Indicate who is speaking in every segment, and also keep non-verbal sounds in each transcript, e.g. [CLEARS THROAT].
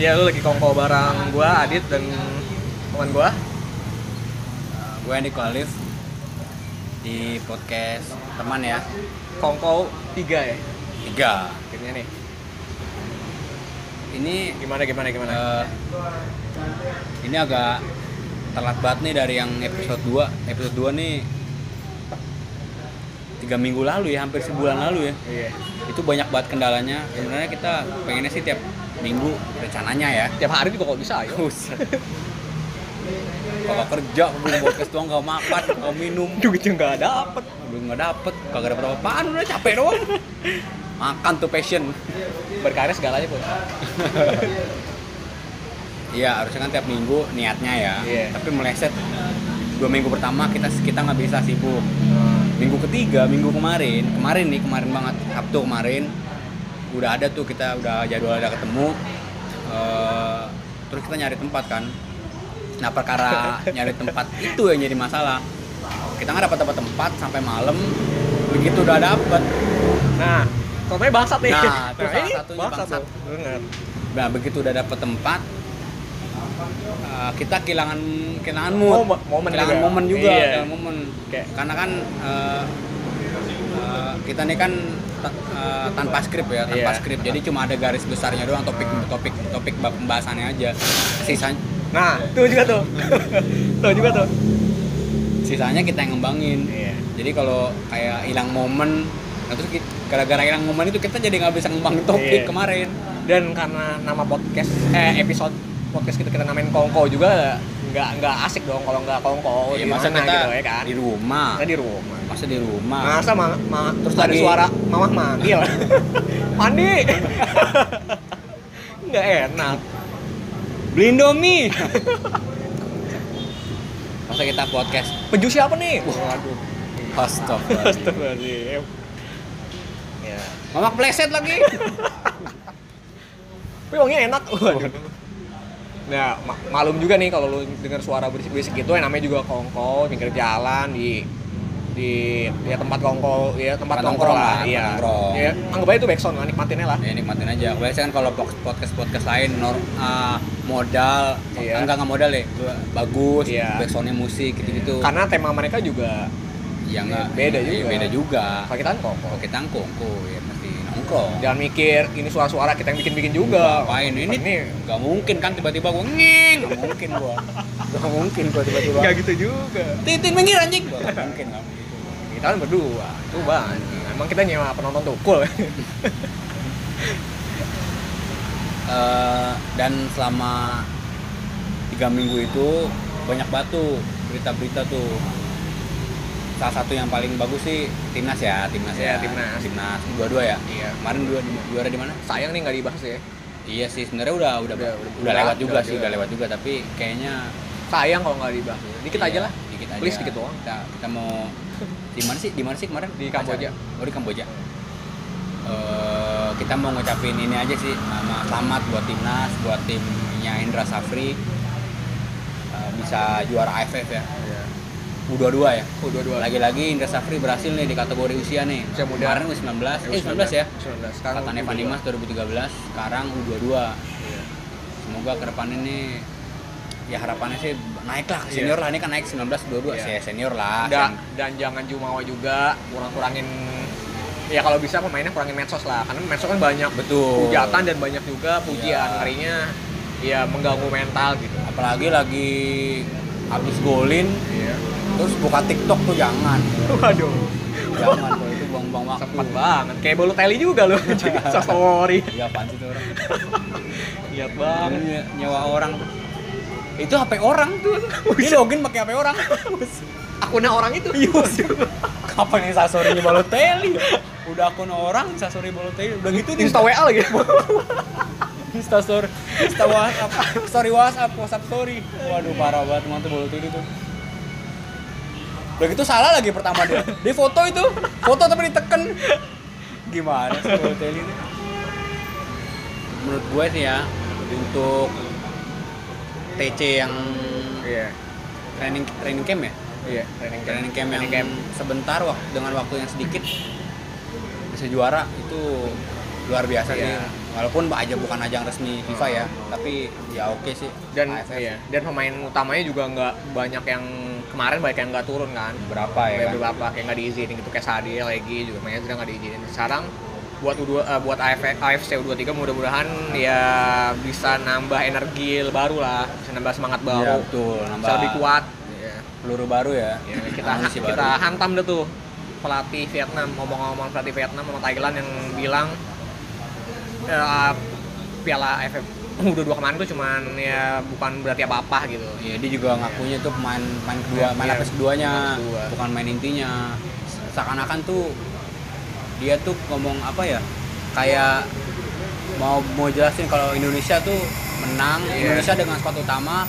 Speaker 1: Iya, lu lagi kongko bareng gua, Adit dan teman gua.
Speaker 2: Uh, gue Andi Kualif di podcast teman ya
Speaker 1: Kongko 3 ya.
Speaker 2: tiga
Speaker 1: Akhirnya nih.
Speaker 2: ini
Speaker 1: Gimana gimana gimana?
Speaker 2: eh, ini agak telat banget nih dari yang episode 2 episode 2 nih tiga minggu lalu ya hampir sebulan lalu ya
Speaker 1: Iya.
Speaker 2: itu banyak banget kendalanya sebenarnya kita pengennya sih tiap minggu rencananya ya
Speaker 1: Tiap hari juga kalau bisa ayo.
Speaker 2: Buset. kalau kerja belum podcast doang nggak makan nggak minum
Speaker 1: Duitnya nggak dapet.
Speaker 2: belum nggak dapet kagak dapet apa-apaan udah capek doang makan tuh passion
Speaker 1: Berkarya segalanya pun.
Speaker 2: Iya harusnya kan tiap minggu niatnya ya.
Speaker 1: Iya.
Speaker 2: Tapi meleset dua minggu pertama kita kita nggak bisa sibuk. Minggu ketiga, minggu kemarin, kemarin nih kemarin banget Sabtu kemarin udah ada tuh kita udah jadwal ada ketemu. Eh, terus kita nyari tempat kan. Nah perkara nyari tempat itu yang jadi masalah. Kita nggak dapat dapat tempat sampai malam. Begitu udah dapet,
Speaker 1: Nah, contohnya bangsat nih.
Speaker 2: Nah, itu salah satunya
Speaker 1: bangsat.
Speaker 2: bangsat.
Speaker 1: tuh. Bener.
Speaker 2: nah begitu udah dapet tempat eh, kita kehilangan kehilangan mood,
Speaker 1: Momen- momen
Speaker 2: kehilangan
Speaker 1: juga.
Speaker 2: momen juga,
Speaker 1: Iya.
Speaker 2: kehilangan momen.
Speaker 1: Kayak-
Speaker 2: Karena kan eh, eh, kita nih kan ta- eh, tanpa skrip ya, tanpa
Speaker 1: Iya.
Speaker 2: skrip. Jadi cuma ada garis besarnya doang, topik topik topik bab pembahasannya aja. Sisanya
Speaker 1: Nah, tuh juga tuh. [LAUGHS] tuh juga tuh.
Speaker 2: sisanya kita yang ngembangin.
Speaker 1: Iya.
Speaker 2: Jadi kalau kayak hilang momen, nah terus ki- gara-gara hilang momen itu kita jadi nggak bisa ngembangin topik
Speaker 1: Iya.
Speaker 2: kemarin.
Speaker 1: Dan karena nama podcast eh episode podcast kita kita namain Kongko juga nggak nggak asik dong kalau nggak Kongko di
Speaker 2: Iya, masa
Speaker 1: mana
Speaker 2: kita
Speaker 1: gitu ya kan.
Speaker 2: di rumah,
Speaker 1: Kita di rumah.
Speaker 2: masa di rumah.
Speaker 1: Masa ma, ma terus ada
Speaker 2: Lagi-
Speaker 1: suara mamah manggil.
Speaker 2: [LAUGHS]
Speaker 1: Mandi. Nggak enak.
Speaker 2: Beli Indomie. Masa kita podcast?
Speaker 1: Peju siapa nih?
Speaker 2: Waduh. Astagfirullah.
Speaker 1: Astagfirullahaladzim. Ya.
Speaker 2: [LAUGHS] Mamak pleset lagi.
Speaker 1: Tapi wanginya
Speaker 2: [LAUGHS]
Speaker 1: enak. Waduh. Nah, ma- malum juga nih kalau lu dengar suara berisik-berisik gitu, yang namanya juga kongko, pinggir jalan di di ya tempat kongko, ya tempat
Speaker 2: Tempat
Speaker 1: kongko
Speaker 2: nongkrong lah,
Speaker 1: lah,
Speaker 2: tempat
Speaker 1: iya.
Speaker 2: nongkrong.
Speaker 1: Ya, anggap aja itu backsound lah, nikmatinnya lah.
Speaker 2: ya nikmatin aja. Biasanya kan kalau podcast podcast lain nor ah, modal,
Speaker 1: Iya.
Speaker 2: enggak enggak modal ya. Bagus,
Speaker 1: Iya.
Speaker 2: backsoundnya musik gitu-gitu.
Speaker 1: Karena tema mereka juga
Speaker 2: ya enggak
Speaker 1: beda
Speaker 2: ya,
Speaker 1: juga.
Speaker 2: Iya. beda juga.
Speaker 1: kalau kita kan kongko.
Speaker 2: Kalau kita ngkongko ya mesti nongkrong.
Speaker 1: Jangan mikir ini suara-suara kita yang bikin-bikin juga.
Speaker 2: Ngapain Iya. ini?
Speaker 1: Ini
Speaker 2: Enggak mungkin kan tiba-tiba gua ngeng. Enggak mungkin gua. Enggak mungkin gua tiba-tiba.
Speaker 1: nggak gitu juga.
Speaker 2: Titin minggir anjing. Enggak mungkin. nggak mungkin.
Speaker 1: Kita kan berdua, tuh bang. Emang kita nyewa penonton tuh
Speaker 2: [LAUGHS]
Speaker 1: cool.
Speaker 2: Eh, dan selama tiga minggu itu banyak batu berita-berita tuh salah satu yang paling bagus sih timnas ya timnas
Speaker 1: Iya,
Speaker 2: ya
Speaker 1: timnas.
Speaker 2: timnas dua-dua ya
Speaker 1: Iya.
Speaker 2: kemarin dua juara di mana
Speaker 1: Sayang nih nggak dibahas ya.
Speaker 2: iya sih sebenarnya udah udah udah,
Speaker 1: Udah- udah-
Speaker 2: lewat
Speaker 1: udah
Speaker 2: juga ya.
Speaker 1: lewat
Speaker 2: sih
Speaker 1: juga.
Speaker 2: udah lewat juga tapi kayaknya
Speaker 1: Sayang kalau nggak dibahas. Dikit
Speaker 2: iya,
Speaker 1: aja lah.
Speaker 2: dikit aja
Speaker 1: Please dikit doang.
Speaker 2: kita, kita mau di mana sih di mana sih kemarin
Speaker 1: Di Kamboja.
Speaker 2: Acara? oh di Kamboja Eh, kita mau ngucapin ini aja sih sama selamat buat timnas buat timnya Indra Safri Eh, bisa juara AFF ya
Speaker 1: Iya.
Speaker 2: U22 ya
Speaker 1: Oh, dua-dua.
Speaker 2: lagi-lagi Indra Safri berhasil nih di kategori usia nih
Speaker 1: Usia muda.
Speaker 2: kemarin U19 eh U19 ya
Speaker 1: 19. Sekarang
Speaker 2: katanya Evan Dimas 2013 sekarang U22
Speaker 1: Iya.
Speaker 2: semoga ke depan ini ya harapannya sih naik lah ke
Speaker 1: Iya.
Speaker 2: senior lah ini kan naik 19 22
Speaker 1: Iya.
Speaker 2: ya senior lah
Speaker 1: Dan, dan jangan jumawa juga kurang-kurangin ya kalau bisa pemainnya kurangin medsos lah karena medsos kan banyak
Speaker 2: Betul.
Speaker 1: hujatan dan banyak juga pujian
Speaker 2: Iya.
Speaker 1: ngerinya ya mengganggu mental gitu
Speaker 2: apalagi lagi habis golin
Speaker 1: iya
Speaker 2: terus buka TikTok tuh jangan
Speaker 1: waduh
Speaker 2: jangan kalau itu buang-buang waktu
Speaker 1: sempat banget kayak bolu teli juga [LAUGHS] lu jadi sorry
Speaker 2: ya apaan sih tuh orang
Speaker 1: lihat banget
Speaker 2: Nye- nyewa orang itu HP orang tuh dia login pakai HP orang
Speaker 1: akunnya orang itu
Speaker 2: kapan yang sasori Balotelli udah akun orang sasori Balotelli udah gitu nih
Speaker 1: insta wa lagi
Speaker 2: Insta story, Insta WhatsApp, story WhatsApp, WhatsApp story. Waduh parah banget mantu bolu itu tuh. Udah gitu salah lagi pertama dia. Dia foto itu, foto tapi diteken. Gimana sih bolu teli itu? Menurut gue sih ya untuk TC yang
Speaker 1: iya
Speaker 2: training training camp ya,
Speaker 1: iya training camp
Speaker 2: training camp yang
Speaker 1: Training camp.
Speaker 2: sebentar wak- dengan waktu yang sedikit bisa juara itu luar biasa
Speaker 1: Iya. Oh.
Speaker 2: sih. walaupun aja bukan ajang resmi FIFA ya tapi ya oke sih
Speaker 1: dan
Speaker 2: AFF.
Speaker 1: iya, dan pemain utamanya juga nggak banyak yang kemarin banyak yang nggak turun kan
Speaker 2: berapa ya
Speaker 1: kayak
Speaker 2: kan?
Speaker 1: beberapa kayak nggak diizinin gitu kayak Sadil lagi juga mainnya sudah nggak diizinin sekarang buat U2, eh, buat AFF, AFC U23 mudah-mudahan ya bisa nambah energi baru lah bisa nambah semangat
Speaker 2: Iya,
Speaker 1: baru
Speaker 2: betul nambah
Speaker 1: bisa lebih kuat Iya.
Speaker 2: peluru baru ya,
Speaker 1: Ya, kita
Speaker 2: Amunisi baru.
Speaker 1: kita hantam deh tuh pelatih Vietnam ngomong-ngomong pelatih Vietnam sama Thailand yang bilang eh, Piala [LAUGHS] AFF U22 kemarin tuh cuman ya bukan berarti apa-apa gitu
Speaker 2: Iya, dia juga ngakunya tuh pemain main
Speaker 1: Iya,
Speaker 2: kedua, main
Speaker 1: iya.
Speaker 2: lapis keduanya,
Speaker 1: Lapis kedua.
Speaker 2: bukan main intinya. Seakan-akan tuh dia tuh ngomong apa ya? Kayak mau mau jelasin kalau Indonesia tuh menang,
Speaker 1: Iya.
Speaker 2: Indonesia dengan skuad utama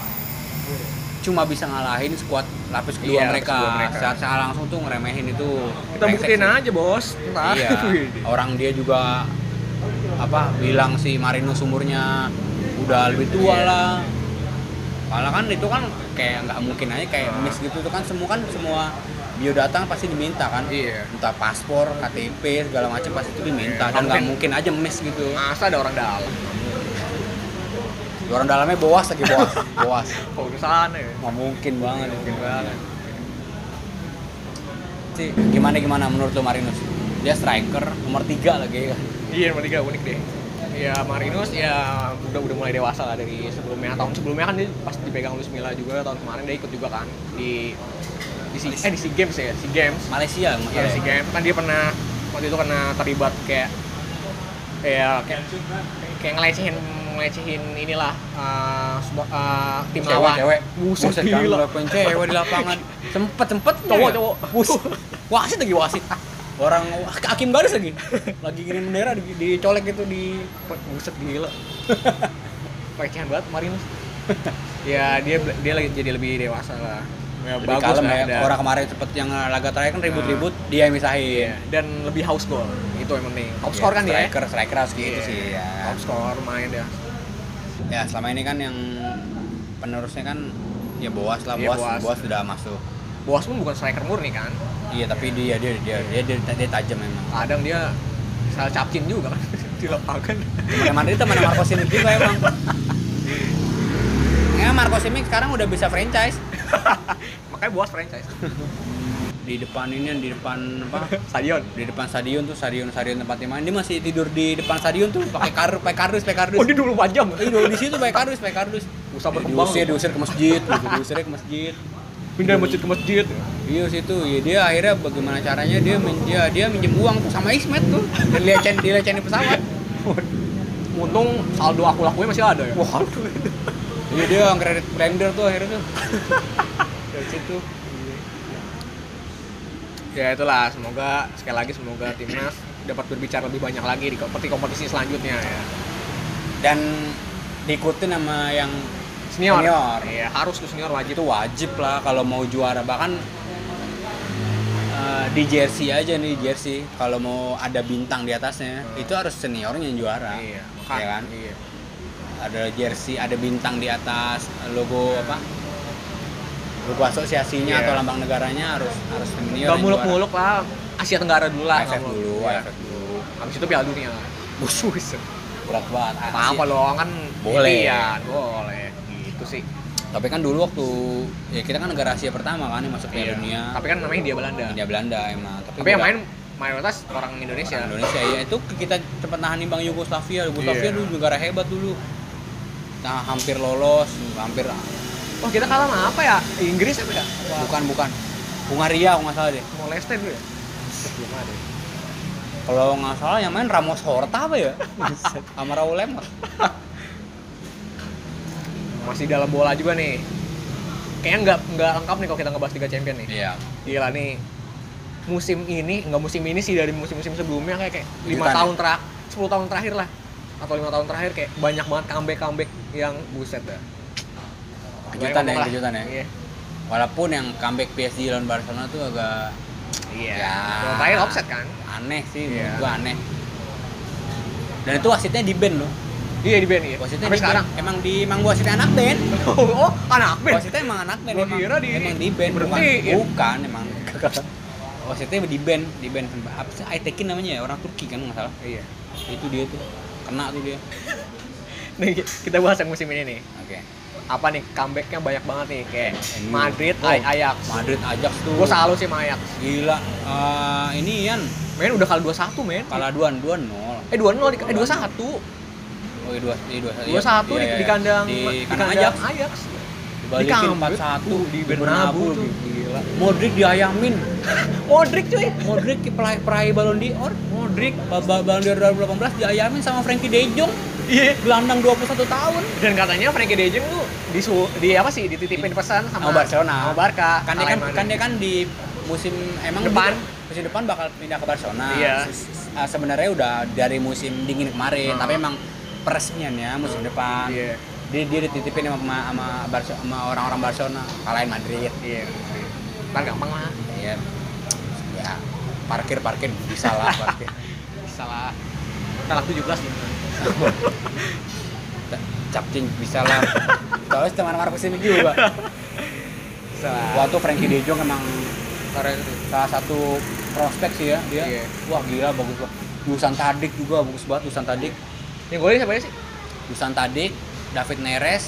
Speaker 2: cuma bisa ngalahin skuad lapis kedua
Speaker 1: Iya, lapis
Speaker 2: mereka.
Speaker 1: kedua mereka.
Speaker 2: Saat secara langsung tuh ngeremehin itu.
Speaker 1: kita
Speaker 2: Brengsek
Speaker 1: buktiin ah.
Speaker 2: sih.
Speaker 1: aja bos Ntar. [LAUGHS]
Speaker 2: Iya. Orang dia juga apa bilang si Marinus umurnya udah lebih tua
Speaker 1: Iya.
Speaker 2: lah. Kalau kan itu kan kayak nggak mungkin aja kayak
Speaker 1: Ah.
Speaker 2: miss gitu tuh kan semua kan semua biodata pasti diminta kan.
Speaker 1: Iya.
Speaker 2: Entah paspor, KTP segala macam pasti itu diminta
Speaker 1: Iya.
Speaker 2: dan nggak
Speaker 1: Mungkin-
Speaker 2: mungkin aja miss gitu.
Speaker 1: Oh, masa ada orang dalam
Speaker 2: Orang dalamnya boas lagi
Speaker 1: [LAUGHS]
Speaker 2: boas, boas.
Speaker 1: kalau ke sana ya
Speaker 2: Nggak mungkin banget.
Speaker 1: mungkin banget
Speaker 2: Sih, gimana gimana menurut lo Marinus? Dia striker nomor tiga lagi kan.
Speaker 1: iya nomor tiga unik deh ya Marinus ya udah udah mulai dewasa lah dari sebelumnya tahun sebelumnya kan dia pas dipegang Luis Milla juga tahun kemarin dia ikut juga kan di di si eh di sea games ya sea games
Speaker 2: Malaysia, nggak
Speaker 1: Iya
Speaker 2: salah
Speaker 1: si
Speaker 2: ya?
Speaker 1: game kan dia pernah waktu itu kena terlibat kayak ya kayak kayak ngelecehin ngelecehin inilah eh, sebuah- eh, tim
Speaker 2: Cewek,
Speaker 1: lawan.
Speaker 2: cewek.
Speaker 1: Buset,
Speaker 2: Buset kan
Speaker 1: gila.
Speaker 2: ngelakuin cewek di lapangan. Sempet sempet
Speaker 1: Cowok, cowok.
Speaker 2: [LAUGHS]
Speaker 1: Uh,
Speaker 2: Buset. Wasit lagi wasit. Orang hakim garis lagi. Lagi gini bendera di, dicolek gitu di
Speaker 1: Buset
Speaker 2: [LAUGHS]
Speaker 1: gila. Pelecehan banget kemarin. ya dia dia lagi jadi lebih dewasa lah. Ya,
Speaker 2: Lebih
Speaker 1: bagus
Speaker 2: kalem
Speaker 1: lah,
Speaker 2: ya.
Speaker 1: dan,
Speaker 2: Orang kemarin sempet yang laga terakhir kan ribut-ribut, dia yang misahin.
Speaker 1: dan lebih haus gol. Itu yang penting. Top score kan dia. ya?
Speaker 2: Iya, Striker, striker harus gitu
Speaker 1: Iya,
Speaker 2: sih ya.
Speaker 1: Top score main ya.
Speaker 2: Ya, selama ini kan yang penerusnya kan ya Boas lah,
Speaker 1: Iya,
Speaker 2: Boas,
Speaker 1: Boas.
Speaker 2: Boas sudah masuk.
Speaker 1: Boas pun bukan striker murni kan.
Speaker 2: Iya, tapi dia dia dia dia dia, dia tajam memang.
Speaker 1: Kadang dia salah capcin juga kan [LAUGHS] di lapangan.
Speaker 2: Teman-teman itu teman Marco Simic juga [LAUGHS] emang. Ya Marco Simic sekarang udah bisa franchise
Speaker 1: makanya buas franchise
Speaker 2: di depan ini di depan apa?
Speaker 1: [LAUGHS] stadion
Speaker 2: Di depan stadion tuh stadion stadion tempatnya main dia masih tidur di depan stadion tuh pakai kardus pakai kardus pakai kardus.
Speaker 1: oh dia 24 jam
Speaker 2: Tidur di situ pakai kardus pakai kardus.
Speaker 1: Usah berkembang.
Speaker 2: Iya. Diusir diusir ke masjid, gitu. diusir ke masjid.
Speaker 1: pindah masjid ke masjid
Speaker 2: Iya situ, ya dia akhirnya bagaimana caranya dia min dia, dia minjem uang tuh sama Ismet tuh. Dilecehin dilecehin di pesawat.
Speaker 1: untung saldo aku lakunya masih ada ya waduh
Speaker 2: Iya dia kredit blender tuh akhirnya tuh.
Speaker 1: dari situ ya itulah semoga sekali lagi semoga timnas dapat berbicara lebih banyak lagi di kompetisi kompetisi selanjutnya ya
Speaker 2: Dan diikutin sama yang
Speaker 1: senior,
Speaker 2: Senior.
Speaker 1: ya harus tuh senior wajib
Speaker 2: itu wajib lah kalau mau juara bahkan eh, di jersey aja nih jersey kalau mau ada bintang di atasnya
Speaker 1: Hmm.
Speaker 2: itu harus seniornya yang juara
Speaker 1: iya
Speaker 2: ya kan
Speaker 1: iya
Speaker 2: ada jersey ada bintang di atas logo apa logo
Speaker 1: Iya.
Speaker 2: asosiasinya atau lambang negaranya harus harus senior
Speaker 1: nggak
Speaker 2: yang
Speaker 1: muluk
Speaker 2: Iya, juara.
Speaker 1: muluk lah Asia Tenggara dulu lah
Speaker 2: AFF
Speaker 1: nggak muluk.
Speaker 2: dulu
Speaker 1: Iya.
Speaker 2: AFF dulu
Speaker 1: habis itu Piala Dunia busus
Speaker 2: berat banget
Speaker 1: apa apa
Speaker 2: Asia.
Speaker 1: loh kan
Speaker 2: Boleh.
Speaker 1: iya boleh gitu sih
Speaker 2: tapi kan dulu waktu ya kita kan negara Asia pertama kan yang masuk Piala
Speaker 1: Iya.
Speaker 2: Dunia
Speaker 1: Tapi kan namanya dia Belanda.
Speaker 2: India Belanda emang tapi,
Speaker 1: Tapi yang
Speaker 2: udah-
Speaker 1: main mayoritas orang Indonesia.
Speaker 2: Orang Indonesia ya itu kita cepat nahan imbang Yugoslavia. Yugoslavia
Speaker 1: Iya.
Speaker 2: dulu negara hebat dulu. Nah, hampir lolos, hampir ah,
Speaker 1: Oh kita kalah sama apa ya? Inggris apa ya?
Speaker 2: bukan bukan. Hungaria kalau nggak salah deh.
Speaker 1: Mau Leicester dulu ya? Belum ada.
Speaker 2: Kalau nggak salah yang main Ramos Horta apa ya? [LAUGHS] Sama Raul Lemos.
Speaker 1: Masih dalam bola juga nih. Kayaknya nggak nggak lengkap nih kalau kita ngebahas Liga Champion nih.
Speaker 2: Iya.
Speaker 1: Gila nih. Musim ini nggak musim ini sih dari musim-musim sebelumnya kayak kayak lima
Speaker 2: Kejutan ya?
Speaker 1: tahun terakhir, 10 tahun terakhir lah atau lima tahun terakhir kayak banyak banget comeback comeback yang buset dah. Banyak
Speaker 2: Kejutan ya,
Speaker 1: ngomong
Speaker 2: kejutan
Speaker 1: lah.
Speaker 2: ya.
Speaker 1: Iya.
Speaker 2: Walaupun yang comeback PSG lawan Barcelona tuh agak
Speaker 1: Iya.
Speaker 2: Ya.
Speaker 1: Yang Terakhir offset kan?
Speaker 2: aneh sih,
Speaker 1: Iya.
Speaker 2: menurut gua aneh. Dan itu wasitnya di band loh.
Speaker 1: Iya di band iya.
Speaker 2: Wasitnya
Speaker 1: Sampai
Speaker 2: di
Speaker 1: sekarang.
Speaker 2: Band. Emang di emang wasitnya anak band.
Speaker 1: [LAUGHS] oh, anak band.
Speaker 2: Wasitnya emang anak band
Speaker 1: Gua
Speaker 2: emang.
Speaker 1: kira di- iya.
Speaker 2: emang di band bukan
Speaker 1: diberhentiin.
Speaker 2: bukan emang Oh, wasitnya di band di band apa sih Aytekin namanya ya orang Turki kan nggak salah
Speaker 1: Iya.
Speaker 2: itu dia tuh kena tuh dia
Speaker 1: Nih, kita bahas yang musim ini nih.
Speaker 2: oke
Speaker 1: Apa nih comebacknya banyak banget nih kayak
Speaker 2: MU.
Speaker 1: Madrid,
Speaker 2: Oh.
Speaker 1: Ay- Ajax.
Speaker 2: Madrid Ajax tuh
Speaker 1: Gue selalu sih sama Ajax.
Speaker 2: gila Eh, ini Ian
Speaker 1: Men udah kalah 2-1 men.
Speaker 2: kalah duan dua nol
Speaker 1: Eh 2-0 di- eh 2-1.
Speaker 2: oh iya dua iya dua iya,
Speaker 1: 2-1
Speaker 2: iya,
Speaker 1: di,
Speaker 2: iya.
Speaker 1: di kandang
Speaker 2: di,
Speaker 1: di kandang
Speaker 2: kandang Ajax
Speaker 1: Ajax.
Speaker 2: dibalikin
Speaker 1: Di
Speaker 2: empat
Speaker 1: Camp
Speaker 2: satu
Speaker 1: Nou, di Bernabeu tuh.
Speaker 2: gila Modric diayamin
Speaker 1: Modric cuy.
Speaker 2: Modric peraih peraih Ballon d'Or Modric ba- ba- Ballon d'Or 2018 diayamin sama Frankie De Jong
Speaker 1: Iya.
Speaker 2: gelandang 21 tahun
Speaker 1: Dan katanya Frankie De Jong tuh disu di apa sih dititipin pesan sama
Speaker 2: Sama Barcelona.
Speaker 1: Sama Barca.
Speaker 2: kan dia kan,
Speaker 1: Alain Mane.
Speaker 2: kan dia kan di musim emang
Speaker 1: Depan.
Speaker 2: dia- musim depan bakal pindah ke Barcelona
Speaker 1: Iya.
Speaker 2: Se- se- uh, sebenarnya udah dari musim dingin
Speaker 1: Hmm.
Speaker 2: kemarin tapi emang peresmiannya musim depan
Speaker 1: Iya.
Speaker 2: dia dia dititipin sama sama sama, Barce- sama orang-orang Barcelona kalahin Madrid
Speaker 1: Iya. Ntar gampang lah.
Speaker 2: ya ya parkir parkir bisa lah
Speaker 1: [LAUGHS]
Speaker 2: parkir
Speaker 1: Salah. Kalah 17
Speaker 2: [LAUGHS]
Speaker 1: gitu.
Speaker 2: T- capcing bisa lah soalnya cuma orang kesini juga
Speaker 1: Salah.
Speaker 2: waktu Frankie De Jong emang
Speaker 1: Keren tuh.
Speaker 2: salah satu prospek sih ya dia
Speaker 1: Iya.
Speaker 2: wah gila bagus banget Dusan Tadic juga bagus banget Dusan Tadic
Speaker 1: Yang golin siapa aja sih?
Speaker 2: Dusan Tadic David Neres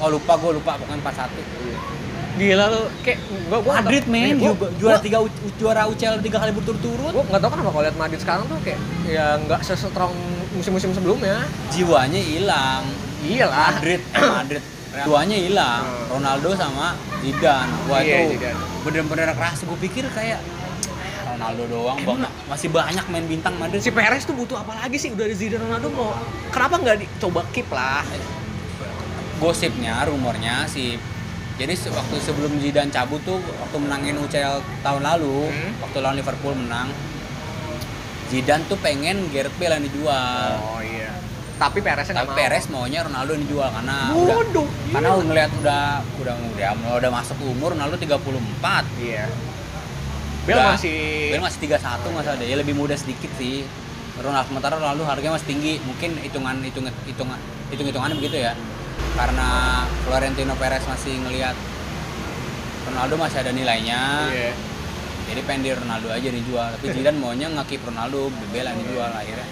Speaker 2: oh lupa gue lupa pokoknya 41
Speaker 1: Gila lu. Kayak gua gua nggak
Speaker 2: Madrid
Speaker 1: tahu-
Speaker 2: men
Speaker 1: Gua-
Speaker 2: Ju- juara
Speaker 1: gua-
Speaker 2: tiga U- juara UCL tiga kali berturut-turut
Speaker 1: Gua nggak tau kenapa kalau lihat Madrid sekarang tuh kayak ya nggak sestrong musim-musim sebelumnya.
Speaker 2: jiwanya hilang
Speaker 1: Iya lah.
Speaker 2: Madrid [CLEARS THROAT] eh, Madrid duanya hilang
Speaker 1: Hmm.
Speaker 2: Ronaldo sama Zidane wah
Speaker 1: Iya,
Speaker 2: itu
Speaker 1: Zidane.
Speaker 2: bener-bener keras gue pikir kayak Ronaldo doang bang masih banyak main bintang Madrid
Speaker 1: si Perez tuh butuh apa lagi sih udah ada Zidane Ronaldo mau kenapa nggak dicoba keep lah
Speaker 2: gosipnya rumornya si jadi se- waktu sebelum Zidane cabut tuh waktu menangin UCL tahun lalu
Speaker 1: Hmm.
Speaker 2: waktu lawan Liverpool menang Zidane tuh pengen Gareth Bale yang dijual
Speaker 1: oh iya tapi Pereznya
Speaker 2: Ah.
Speaker 1: nggak
Speaker 2: tapi
Speaker 1: mau
Speaker 2: Perez maunya Ronaldo yang dijual karena udah
Speaker 1: bodoh
Speaker 2: karena ngelihat udah udah udah udah masuk umur Ronaldo 34
Speaker 1: iya Bel
Speaker 2: Bel
Speaker 1: masih
Speaker 2: Bel masih 31 nggak salah deh. Ya lebih muda sedikit sih. Ronaldo sementara lalu harganya masih tinggi. Mungkin hitungan hitung hitungan hitung hitungannya begitu ya. Karena Florentino Perez masih ngelihat Ronaldo masih ada nilainya.
Speaker 1: iya
Speaker 2: Jadi pengen di Ronaldo aja dijual. Tapi Zidane maunya ngakip Ronaldo, Bel yang dijual akhirnya.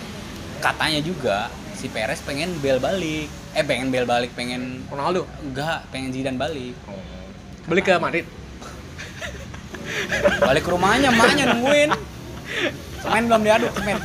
Speaker 2: Katanya juga si Perez pengen Bel balik. Eh pengen Bel balik, pengen
Speaker 1: Ronaldo
Speaker 2: enggak, pengen Zidane balik.
Speaker 1: beli ke Madrid
Speaker 2: Balik ke rumahnya, emaknya nungguin. Semen belum diaduk, semen.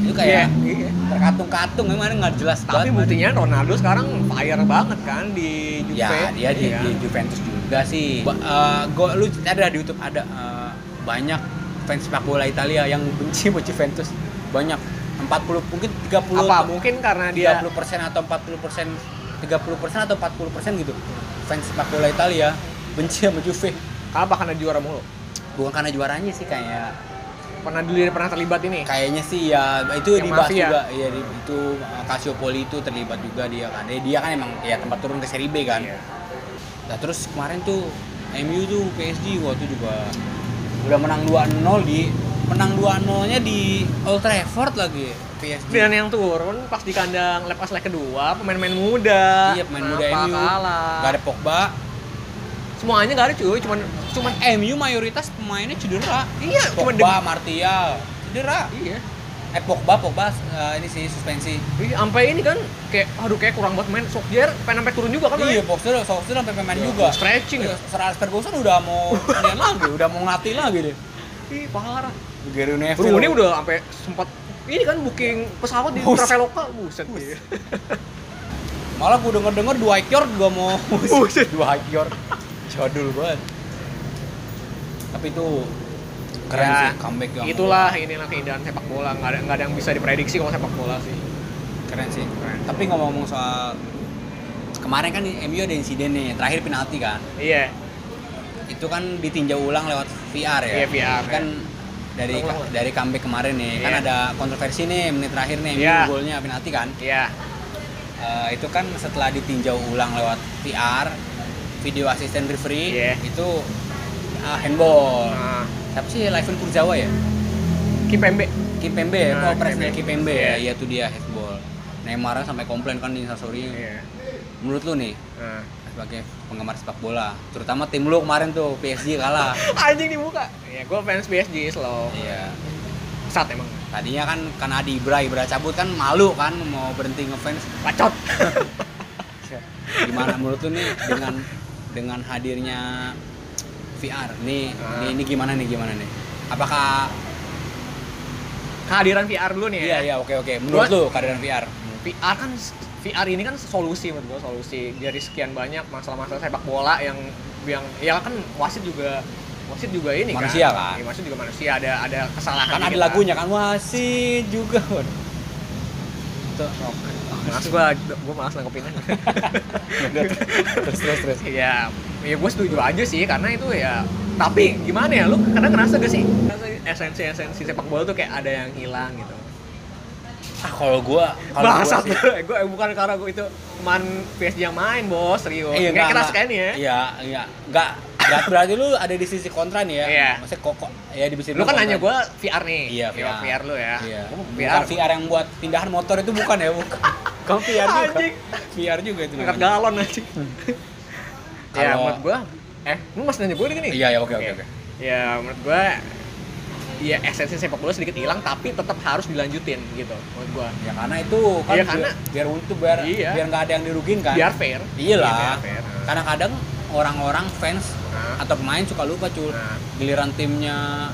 Speaker 2: Itu kayak
Speaker 1: Iya, iya.
Speaker 2: terkatung-katung gimana nggak jelas
Speaker 1: tapi
Speaker 2: banget.
Speaker 1: buktinya Ronaldo sekarang fire banget kan di Juve
Speaker 2: ya dia di,
Speaker 1: Iya.
Speaker 2: di Juventus juga sih. Ba- eh, gua- lu ada di YouTube ada eh, banyak fans sepak bola Italia yang benci sama Juventus. Banyak 40 mungkin 30
Speaker 1: apa mungkin karena dia
Speaker 2: 30 persen atau 40 persen 30 persen atau 40 persen gitu fans sepak bola Italia benci sama Juve
Speaker 1: apa karena juara mulu
Speaker 2: bukan karena juaranya sih kayak
Speaker 1: pernah dulu dia pernah terlibat ini
Speaker 2: kayaknya sih ya itu
Speaker 1: Yang
Speaker 2: dibahas
Speaker 1: mafia.
Speaker 2: juga ya di- itu uh, Casiopoli itu terlibat juga dia kan dia, dia kan emang ya tempat turun ke seri B kan
Speaker 1: Iya.
Speaker 2: nah terus kemarin tuh MU tuh PSG waktu juga udah menang 2-0 di menang 2-0 nya di Old Trafford lagi PSG
Speaker 1: dan yang turun pas di kandang lepas leg kedua pemain-pemain muda
Speaker 2: iya pemain muda
Speaker 1: Kenapa
Speaker 2: MU
Speaker 1: kalah
Speaker 2: gak ada Pogba
Speaker 1: semuanya nggak ada cuy cuman cuman
Speaker 2: cuman MU mayoritas pemainnya cedera
Speaker 1: iya cuman
Speaker 2: Pogba Martial
Speaker 1: dem-
Speaker 2: cedera
Speaker 1: iya
Speaker 2: eh Pogba Pogba uh, ini sih suspensi
Speaker 1: Iya, sampai ini kan kayak aduh kayak kurang banget main Sokjer pengen sampai turun juga kan
Speaker 2: Iya, boxer, boxer sampai pemain
Speaker 1: main.
Speaker 2: juga.
Speaker 1: stretching ya
Speaker 2: Iya, Sir Alex Ferguson udah mau ini lagi, udah mau ngelatih lagi deh.
Speaker 1: ih parah
Speaker 2: Gary Neville.
Speaker 1: Rooney udah sampai sempat ini kan booking pesawat di
Speaker 2: Buset.
Speaker 1: Traveloka buset iya.
Speaker 2: Malah gue denger-denger Dwight York juga
Speaker 1: [LAUGHS]
Speaker 2: mau
Speaker 1: Buset.
Speaker 2: Dwight York. Jadul banget. Tapi itu keren
Speaker 1: Ya,
Speaker 2: sih comeback yang
Speaker 1: itulah inilah keindahan sepak bola nggak ada nggak ada yang bisa diprediksi kalau sepak bola sih
Speaker 2: keren sih.
Speaker 1: Keren.
Speaker 2: Tapi ngomong-ngomong soal kemarin kan di MU ada insiden nih, terakhir penalti kan.
Speaker 1: iya
Speaker 2: Itu kan ditinjau ulang lewat VR ya.
Speaker 1: Iya, VR,
Speaker 2: Kan dari
Speaker 1: Ulang lah.
Speaker 2: dari comeback kemarin nih, kan
Speaker 1: Iya.
Speaker 2: ada kontroversi nih menit terakhir nih MU
Speaker 1: Iya.
Speaker 2: golnya penalti kan.
Speaker 1: iya
Speaker 2: Eh, itu kan setelah ditinjau ulang lewat VR video asisten referee
Speaker 1: Iya.
Speaker 2: itu ah, handball
Speaker 1: nah,
Speaker 2: tapi sih Liven Kurzawa ya
Speaker 1: Kipembe
Speaker 2: Kim Pembe ya
Speaker 1: Nah,
Speaker 2: oh presiden
Speaker 1: Kim
Speaker 2: Kim
Speaker 1: Pembe.
Speaker 2: Pembe
Speaker 1: Iya.
Speaker 2: ya itu dia handball Neymar sampai komplain kan di instastory
Speaker 1: iya
Speaker 2: menurut lu nih
Speaker 1: nah.
Speaker 2: sebagai penggemar sepak bola terutama tim lu kemarin tuh PSG
Speaker 1: [LAUGHS]
Speaker 2: kalah [LAUGHS]
Speaker 1: Anjing dibuka. Ya gue fans PSG slow.
Speaker 2: iya
Speaker 1: Sat emang.
Speaker 2: tadinya kan karena ada Ibra Ibra cabut kan malu kan mau berhenti ngefans [LAUGHS]
Speaker 1: Bacot.
Speaker 2: gimana menurut lu nih dengan dengan hadirnya VR nih
Speaker 1: Ah.
Speaker 2: nih ini gimana nih gimana nih apakah
Speaker 1: Kehadiran VR dulu nih ya.
Speaker 2: iya iya oke oke menurut
Speaker 1: Gua-
Speaker 2: lu kehadiran VR
Speaker 1: VR kan VR ini kan solusi menurut gue solusi dari sekian banyak masalah-masalah sepak bola yang yang ya kan wasit juga wasit juga ini
Speaker 2: Manusia,
Speaker 1: kan,
Speaker 2: kan?
Speaker 1: Ya, wasit juga manusia ada ada kesalahan
Speaker 2: kan ada
Speaker 1: dikit lah.
Speaker 2: lagunya kan wasit juga waduh. Tuh, oke.
Speaker 1: Malas gue, gue malas
Speaker 2: [LAUGHS]
Speaker 1: nanggepinnya.
Speaker 2: Udah, terus terus terus
Speaker 1: ya, ya gue setuju aja sih karena itu ya. Tapi gimana ya, lu kadang ngerasa gak sih esensi esensi sepak bola tuh kayak ada yang hilang gitu.
Speaker 2: ah kalau gua kalau gua
Speaker 1: Bangsat [LAUGHS]
Speaker 2: sih-
Speaker 1: gue bukan karena gue itu cuman PSG yang main bos, serius. Kayak
Speaker 2: Iya, enggak,
Speaker 1: keras
Speaker 2: enggak.
Speaker 1: kan ya.
Speaker 2: Iya, iya. Enggak, enggak berarti lu ada di sisi kontra nih ya.
Speaker 1: Iya.
Speaker 2: Maksudnya kok kok- ya di sisi
Speaker 1: Lu kan
Speaker 2: kontra.
Speaker 1: nanya gue VR nih.
Speaker 2: Iya,
Speaker 1: Ya,
Speaker 2: VR.
Speaker 1: lu ya.
Speaker 2: Iya.
Speaker 1: Gua mau
Speaker 2: VR.
Speaker 1: VR.
Speaker 2: VR yang buat pindahan motor itu bukan ya, bukan.
Speaker 1: [LAUGHS]
Speaker 2: Kamu VR juga.
Speaker 1: Anjing.
Speaker 2: VR juga itu.
Speaker 1: Angkat
Speaker 2: namanya.
Speaker 1: galon
Speaker 2: [LAUGHS]
Speaker 1: anjing. ya,
Speaker 2: Kalau-
Speaker 1: menurut gue eh, lu masih nanya gue lagi nih?
Speaker 2: Iya, iya, oke, oke, oke.
Speaker 1: Ya, menurut gue ya esensi sepak bola sedikit hilang tapi tetap harus dilanjutin gitu menurut gue.
Speaker 2: Ya karena itu kan
Speaker 1: Iya,
Speaker 2: biar-
Speaker 1: karena-
Speaker 2: biar itu biar
Speaker 1: Iya.
Speaker 2: biar nggak ada yang dirugiin kan.
Speaker 1: Biar fair.
Speaker 2: Iya
Speaker 1: biar
Speaker 2: lah.
Speaker 1: fair. Nah.
Speaker 2: Karena kadang orang-orang fans
Speaker 1: Nah.
Speaker 2: atau pemain suka lupa cul.
Speaker 1: Nah.
Speaker 2: Giliran timnya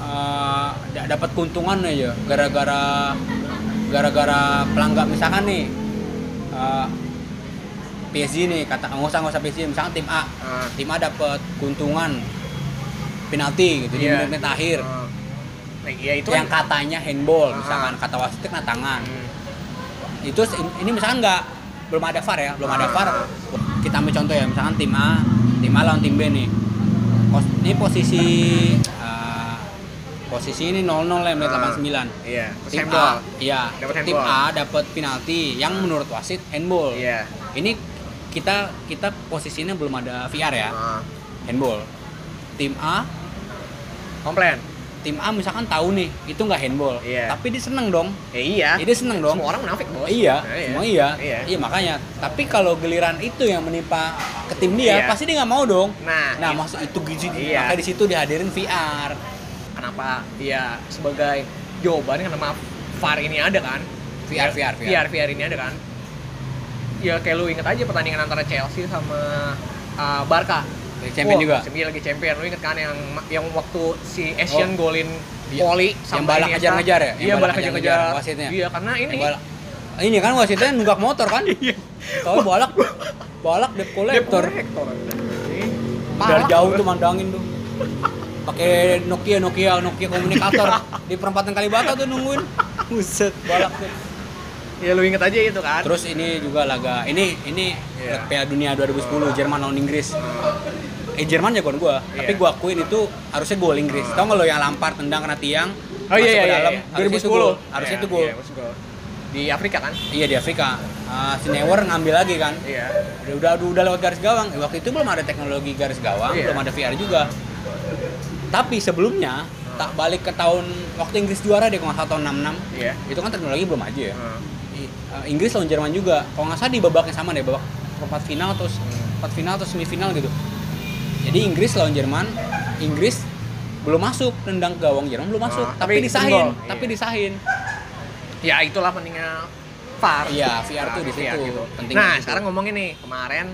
Speaker 2: eh, da- dapat keuntungan aja gara-gara gara-gara pelanggan misalkan nih eh, PSG nih kata nggak usah nggak usah PSG misalkan tim A
Speaker 1: Ah.
Speaker 2: tim A dapat keuntungan penalti gitu
Speaker 1: Iya.
Speaker 2: di menit-menit akhir
Speaker 1: Nah, Nah, iya itu
Speaker 2: yang
Speaker 1: kan.
Speaker 2: katanya handball
Speaker 1: Ah.
Speaker 2: misalkan kata wasit kena tangan
Speaker 1: Hmm.
Speaker 2: itu se- ini misalkan nggak belum ada VAR ya belum ada
Speaker 1: Ah.
Speaker 2: VAR kita ambil contoh ya misalkan tim A tim A lawan tim B nih Pos- ini posisi eh, posisi ini 0-0 ya menit
Speaker 1: Ah.
Speaker 2: 89
Speaker 1: Iya,
Speaker 2: tim
Speaker 1: handball.
Speaker 2: A iya
Speaker 1: Dapat
Speaker 2: tim
Speaker 1: handball.
Speaker 2: A dapat penalti yang menurut wasit handball
Speaker 1: Iya.
Speaker 2: ini kita kita posisinya belum ada VR ya
Speaker 1: Ah.
Speaker 2: handball tim A
Speaker 1: Komplain.
Speaker 2: tim A misalkan tahu nih itu nggak handball
Speaker 1: Iya.
Speaker 2: tapi dia seneng dong
Speaker 1: Ya iya.
Speaker 2: Ya, dia seneng dong
Speaker 1: Semua orang munafik, Bos.
Speaker 2: Oh, iya,
Speaker 1: Nah,
Speaker 2: semua iya.
Speaker 1: Iya.
Speaker 2: iya. makanya. Tapi kalau geliran itu yang menimpa ke tim dia,
Speaker 1: Iya.
Speaker 2: pasti dia nggak mau dong.
Speaker 1: Nah,
Speaker 2: Nah, maksud itu gizi.
Speaker 1: Iya.
Speaker 2: Makanya di situ dihadirin VR.
Speaker 1: kenapa ya sebagai jawaban kan kenapa VAR ini ada kan
Speaker 2: VR, VR, VR.
Speaker 1: VR VR ini ada kan ya kayak lu inget aja pertandingan antara Chelsea sama uh, Barca
Speaker 2: Champion juga.
Speaker 1: Champion lagi champion lu inget kan yang yang waktu si Asian
Speaker 2: Oh.
Speaker 1: golin
Speaker 2: Iya.
Speaker 1: volley
Speaker 2: Yang
Speaker 1: sama
Speaker 2: balak
Speaker 1: Iniesta.
Speaker 2: ngejar-ngejar ya? Yang
Speaker 1: iya
Speaker 2: balak
Speaker 1: balak ngejar ngejar
Speaker 2: ngejar-ngejar wasitnya.
Speaker 1: iya karena ini
Speaker 2: Yang balak. Ini kan wasitnya nunggak motor
Speaker 1: [LAUGHS]
Speaker 2: kan?
Speaker 1: Iya.
Speaker 2: Kalau balak, balak debt collector.
Speaker 1: kolektor
Speaker 2: Dari jauh
Speaker 1: [LAUGHS]
Speaker 2: tuh mandangin tuh. Pakai Nokia, Nokia, Nokia komunikator
Speaker 1: Iya.
Speaker 2: di perempatan Kalibata tuh nungguin. Buset, balak tuh.
Speaker 1: ya lu inget aja itu kan
Speaker 2: Terus ini juga laga. Ini ini
Speaker 1: Iya.
Speaker 2: Piala Dunia 2010 Jerman lawan Inggris.
Speaker 1: Nah,
Speaker 2: Eh Jerman jagoan gua, tapi
Speaker 1: Iya.
Speaker 2: gua akuin itu harusnya gol Inggris. Tau nggak lo yang lampar tendang kena tiang
Speaker 1: oh iya iya
Speaker 2: ke
Speaker 1: iya,
Speaker 2: dalam,
Speaker 1: iya.
Speaker 2: harusnya itu gol. Harusnya
Speaker 1: Iya,
Speaker 2: itu gol.
Speaker 1: iya, harusnya gol. di Afrika kan
Speaker 2: Iya di Afrika. Ah, Sinewer ngambil lagi kan.
Speaker 1: iya
Speaker 2: Udah, udah udah lewat garis gawang. Eh, waktu itu belum ada teknologi garis gawang,
Speaker 1: Iya.
Speaker 2: belum ada VR juga. Tapi sebelumnya tak balik ke tahun waktu Inggris juara deh kalau nggak salah tahun 66
Speaker 1: iya
Speaker 2: itu kan teknologi belum aja ya.
Speaker 1: Hmm.
Speaker 2: I- uh, Inggris lawan Jerman juga. Kalau nggak salah di babaknya sama deh, babak perempat final atau s-
Speaker 1: Hmm.
Speaker 2: perempat final atau semifinal gitu. Jadi Inggris lawan Jerman, Inggris belum masuk, nendang ke gawang Jerman belum masuk,
Speaker 1: Ah,
Speaker 2: tapi,
Speaker 1: tapi
Speaker 2: disahin,
Speaker 1: gol.
Speaker 2: tapi
Speaker 1: Iya.
Speaker 2: disahin.
Speaker 1: ya itulah pentingnya VAR. Nah,
Speaker 2: Iya, VR tuh di
Speaker 1: VR
Speaker 2: situ. Pentingnya
Speaker 1: Nah,
Speaker 2: di situ.
Speaker 1: sekarang ngomongin nih, kemarin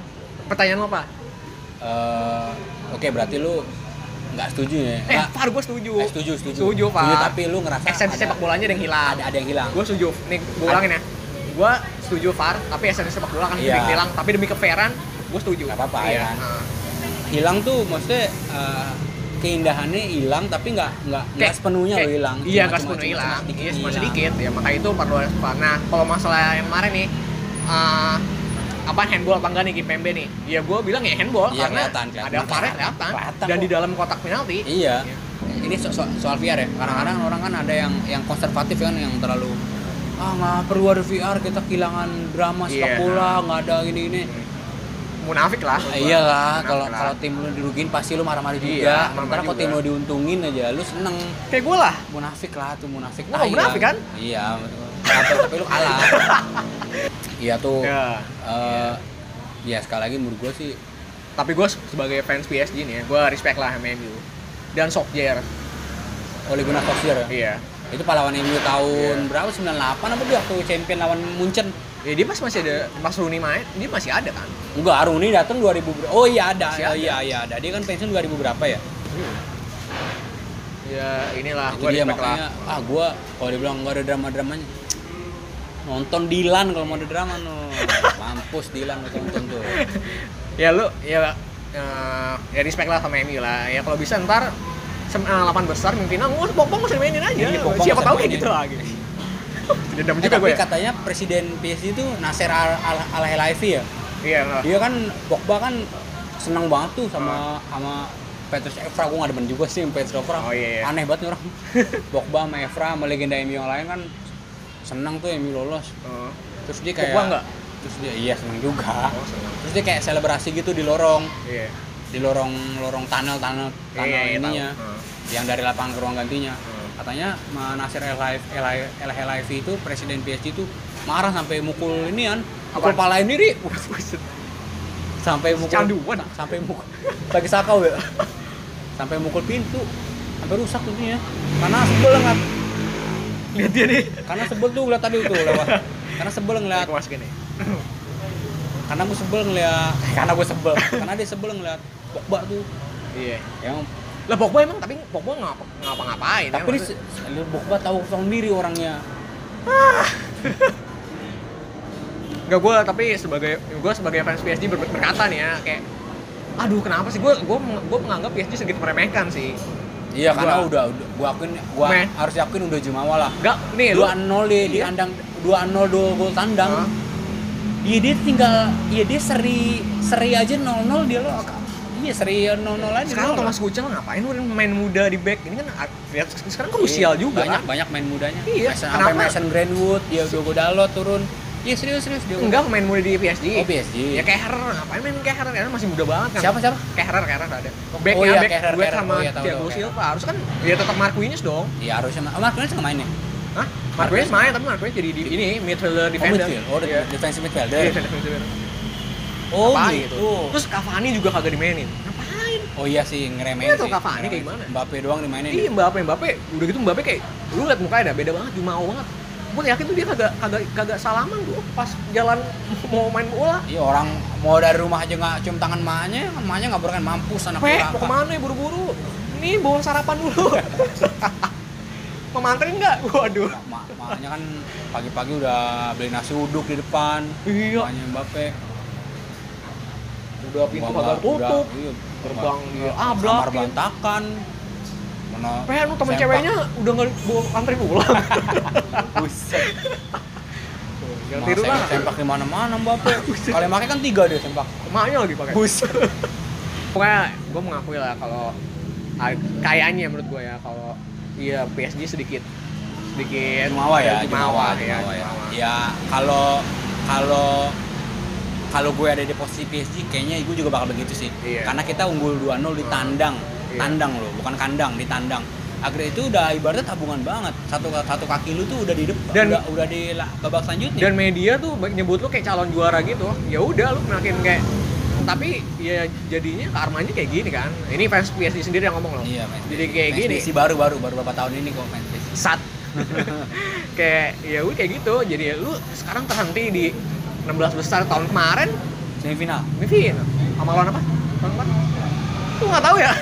Speaker 1: pertanyaan lo apa?
Speaker 2: Eh, Oke, berarti lu nggak setuju ya?
Speaker 1: Eh,
Speaker 2: Nggak.
Speaker 1: VAR gue setuju.
Speaker 2: Eh, setuju, setuju.
Speaker 1: Setuju, VAR.
Speaker 2: tapi lu ngerasa
Speaker 1: esensi
Speaker 2: ada,
Speaker 1: sepak bolanya ada yang hilang.
Speaker 2: ada ada yang hilang.
Speaker 1: Gue setuju. Nih, gue ulangin ya. Gue setuju VAR, tapi esensi sepak bola kan
Speaker 2: Iya.
Speaker 1: sedikit hilang. Tapi demi kefairan, gue setuju.
Speaker 2: Nggak apa-apa,
Speaker 1: Iya.
Speaker 2: ya kan?
Speaker 1: Nah,
Speaker 2: Hilang tuh maksudnya eh, keindahannya hilang tapi nggak nggak nggak
Speaker 1: kayak-
Speaker 2: sepenunya
Speaker 1: kayak-
Speaker 2: lo hilang.
Speaker 1: Iya,
Speaker 2: Cuma-
Speaker 1: nggak
Speaker 2: cuma-
Speaker 1: sepenuhnya
Speaker 2: cuma-
Speaker 1: hilang. Iya, cuma
Speaker 2: hilang.
Speaker 1: sedikit. Ya, maka itu perlu ada VAR. Nah, kalau masalah yang kemarin nih, eh, apa handball apa enggak nih di PMB nih? Ya gue bilang ya handball
Speaker 2: Iya,
Speaker 1: karena
Speaker 2: kelihatan, kelihatan.
Speaker 1: ada VAR-nya kelihatan.
Speaker 2: Kelihatan
Speaker 1: Dan
Speaker 2: kok.
Speaker 1: di dalam kotak penalti
Speaker 2: Iya. Ini so- so- soal VR ya. Kadang-kadang orang kan ada yang yang konservatif kan yang terlalu ah nggak perlu ada VR kita kehilangan drama
Speaker 1: Iya.
Speaker 2: sepak bola nggak ada ini ini.
Speaker 1: munafik lah.
Speaker 2: iyalah
Speaker 1: Munafik
Speaker 2: iya kalau
Speaker 1: lah.
Speaker 2: kalau tim lu dirugiin pasti lu marah-marah
Speaker 1: Nah, Iya,
Speaker 2: juga. Sementara
Speaker 1: marah-marah
Speaker 2: kalau tim
Speaker 1: juga.
Speaker 2: lu diuntungin aja lu seneng.
Speaker 1: kayak gue lah.
Speaker 2: Munafik lah tuh munafik.
Speaker 1: Lu nggak
Speaker 2: Tai
Speaker 1: munafik kan?
Speaker 2: Iya.
Speaker 1: [LAUGHS]
Speaker 2: betul. Tapi, tapi lu kalah. iya tuh.
Speaker 1: Ya.
Speaker 2: eh, ya sekali lagi menurut gue sih
Speaker 1: Tapi gue sebagai fans PSG nih ya, gue respect lah sama MU. Dan Sokjer,
Speaker 2: Ole Gunnar Solskjaer ya.
Speaker 1: iya.
Speaker 2: Itu pahlawan MU tahun berapa? 98 apa dia waktu champion lawan Munchen?
Speaker 1: Ya dia masih masih ada, Mas Rooney main, dia masih ada kan?
Speaker 2: Enggak, Rooney datang 2000 ber- Oh iya ada.
Speaker 1: Masih ada.
Speaker 2: Iya iya ada. Dia kan pensiun 2000 berapa ya?
Speaker 1: Ya inilah,
Speaker 2: itu
Speaker 1: gue
Speaker 2: dia
Speaker 1: respect lah.
Speaker 2: makanya ah gua kalau dibilang nggak ada drama dramanya nonton Dilan kalau mau ada drama no mampus Dilan gua tonton tuh
Speaker 1: ya lu ya eh, ya respect lah sama MU lah ya kalau bisa ntar sem- eh, delapan besar mungkin ah ngus popong ngus mainin aja
Speaker 2: Iya, Popong
Speaker 1: siapa
Speaker 2: ngus
Speaker 1: tahu
Speaker 2: mainin.
Speaker 1: kayak gitu lah gitu dendam
Speaker 2: Eh,
Speaker 1: juga gue
Speaker 2: tapi
Speaker 1: ya
Speaker 2: katanya presiden PSG itu Nasser Al Al- Al Helaifi ya
Speaker 1: iya nggak.
Speaker 2: dia kan Pogba kan senang banget tuh sama sama Petrus Evra gue gak demen juga sih sama Petrus Evra
Speaker 1: Ah. Oh, iya, iya.
Speaker 2: aneh banget nih
Speaker 1: [LAUGHS]
Speaker 2: orang Pogba sama Evra sama legenda MU yang lain kan senang tuh MU lolos
Speaker 1: Heeh.
Speaker 2: terus dia kayak
Speaker 1: Pogba nggak?
Speaker 2: terus dia iya senang juga
Speaker 1: Oh, senang.
Speaker 2: terus dia kayak selebrasi gitu di lorong
Speaker 1: iya
Speaker 2: di lorong lorong tunnel tunnel tunnel
Speaker 1: Iya, iya,
Speaker 2: ininya
Speaker 1: tahu. Heeh.
Speaker 2: yang dari lapangan ke ruang gantinya
Speaker 1: Hmm.
Speaker 2: katanya Ma Nasir El Haif- El Haif- El Helaifi itu presiden PSG itu marah sampai mukul ini kan mukul
Speaker 1: Apaan?
Speaker 2: palain diri
Speaker 1: Oh. Buset.
Speaker 2: sampai mukul
Speaker 1: Canduan.
Speaker 2: sampai mukul bagi sakau ya sampai mukul pintu sampai rusak pintunya karena sebel ngeliat
Speaker 1: lihat dia nih
Speaker 2: karena sebel tuh lihat tadi tuh lewat karena sebel ngeliat
Speaker 1: aku masukin nih
Speaker 2: karena gue sebel ngeliat [LAUGHS] karena gue sebel karena dia sebel ngeliat Pogba tuh
Speaker 1: iya
Speaker 2: yang
Speaker 1: lah Pogba emang tapi Pogba ngapa ngapa ngapain
Speaker 2: Tapi
Speaker 1: ya,
Speaker 2: dia se- Lil Pogba tahu sendiri orangnya.
Speaker 1: Enggak gue tapi sebagai gue sebagai fans PSG ber- berkata nih ya kayak aduh kenapa sih gue gue gue menganggap PSG sedikit meremehkan sih
Speaker 2: Iya karena
Speaker 1: Gua-
Speaker 2: udah, udah gua akuin gua
Speaker 1: Meh.
Speaker 2: harus yakin udah jumawa lah.
Speaker 1: enggak nih lu
Speaker 2: 2-0 dia di
Speaker 1: Iya.
Speaker 2: kandang 2-0 dua gol
Speaker 1: Hah?
Speaker 2: tandang. Iya dia tinggal iya dia seri seri aja 0-0 dia lo. Iya seri 0-0
Speaker 1: Kan
Speaker 2: aja.
Speaker 1: sekarang
Speaker 2: 0-0.
Speaker 1: Thomas Tuchel ngapain lu main muda di back ini kan a- ya, sekarang krusial
Speaker 2: Iya,
Speaker 1: juga
Speaker 2: Banyak banyak main mudanya.
Speaker 1: Iya,
Speaker 2: Mason, sampai
Speaker 1: kenapa?
Speaker 2: Mason Greenwood, dia Diogo Dalot turun. Iya serius serius dia.
Speaker 1: enggak main muda di PSG
Speaker 2: Oh PSG.
Speaker 1: ya Kehrer ngapain main Kehrer karena masih muda banget kan
Speaker 2: Siapa siapa?
Speaker 1: Kehrer Kehrer ada
Speaker 2: Oh,
Speaker 1: back
Speaker 2: iya,
Speaker 1: back
Speaker 2: Kehrer,
Speaker 1: duet
Speaker 2: Kehrer.
Speaker 1: sama
Speaker 2: Oh, iya, tahu,
Speaker 1: Thiago
Speaker 2: tahu,
Speaker 1: Silva harus kan ya tetap Marquinhos dong
Speaker 2: Iya harusnya. Ma- Oh, Marquinhos nggak main ya?
Speaker 1: Hah? Marquinhos main tapi Marquinhos jadi di, ini midfielder
Speaker 2: Oh,
Speaker 1: defender
Speaker 2: midfield. Oh,
Speaker 1: Iya.
Speaker 2: defensive
Speaker 1: Iya,
Speaker 2: midfielder.
Speaker 1: defender, defender.
Speaker 2: Oh,
Speaker 1: Apaan
Speaker 2: gitu.
Speaker 1: gitu. Terus Cavani juga kagak dimainin. Ngapain?
Speaker 2: Oh iya sih ngeremehin
Speaker 1: Nggak tahu
Speaker 2: sih.
Speaker 1: Cavani kayak gimana.
Speaker 2: Mbappe doang dimainin. ya?
Speaker 1: Iya Mbappe, Mbappe udah gitu Mbappe kayak lu liat mukanya dah beda banget, jumao banget. Gue yakin tuh dia kagak kagak kagak salaman tuh pas jalan [LAUGHS] mau main bola.
Speaker 2: Iya orang mau dari rumah aja nggak cium tangan emaknya, emaknya nggak berkan mampus anak
Speaker 1: Pe, mau
Speaker 2: durhaka.
Speaker 1: kemana ya buru-buru? Nih bawa sarapan
Speaker 2: [LAUGHS]
Speaker 1: dulu. Mau mantrin nggak? Waduh.
Speaker 2: Ma- Emaknya kan pagi-pagi udah beli nasi uduk di depan.
Speaker 1: Iya.
Speaker 2: Emaknya Mbappe.
Speaker 1: Udah pintu kagak tutup.
Speaker 2: iya,
Speaker 1: Gerbang dia ablak,
Speaker 2: Kamar
Speaker 1: iya.
Speaker 2: berantakan. Mana
Speaker 1: Pe, lu temen
Speaker 2: sempak.
Speaker 1: ceweknya udah nggak bawa antri
Speaker 2: [LAUGHS]
Speaker 1: pulang.
Speaker 2: Buset.
Speaker 1: Jangan
Speaker 2: Mana
Speaker 1: tidur lah.
Speaker 2: sempak- Sempak di mana-mana Mbappe.
Speaker 1: Buset.
Speaker 2: Kalau yang pakai kan tiga dia sempak.
Speaker 1: Emaknya lagi pakai.
Speaker 2: Buset.
Speaker 1: pokoknya gue mengakui lah kalau ah, kayaknya menurut gue ya kalau iya PSG sedikit sedikit
Speaker 2: Jumawa ya,
Speaker 1: Jumawa, ya,
Speaker 2: Jumawa ya.
Speaker 1: Jumawa.
Speaker 2: Ya, kalau kalau kalau gue ada di posisi PSG kayaknya gue juga bakal begitu sih.
Speaker 1: Iya.
Speaker 2: Karena kita unggul 2-0 di tandang.
Speaker 1: Iya.
Speaker 2: Tandang loh, bukan kandang, di tandang. Akhirnya itu udah ibaratnya tabungan banget. Satu satu kaki lu tuh udah di depan,
Speaker 1: Dan-
Speaker 2: udah, udah di la- babak selanjutnya.
Speaker 1: dan media tuh ba- nyebut lu kayak calon juara gitu ya udah lu makin kayak tapi ya jadinya karmanya kayak gini kan ini fans PSG sendiri yang ngomong loh
Speaker 2: iya, men.
Speaker 1: jadi kayak
Speaker 2: Fans
Speaker 1: gini
Speaker 2: PSG baru-baru baru beberapa tahun ini kok fans PSG. [LAUGHS]
Speaker 1: sat kayak ya udah kayak gitu jadi lu sekarang terhenti di 16 besar tahun kemarin
Speaker 2: Semifinal.
Speaker 1: Mivin sama lawan apa tahun kemarin lu nggak tahu ya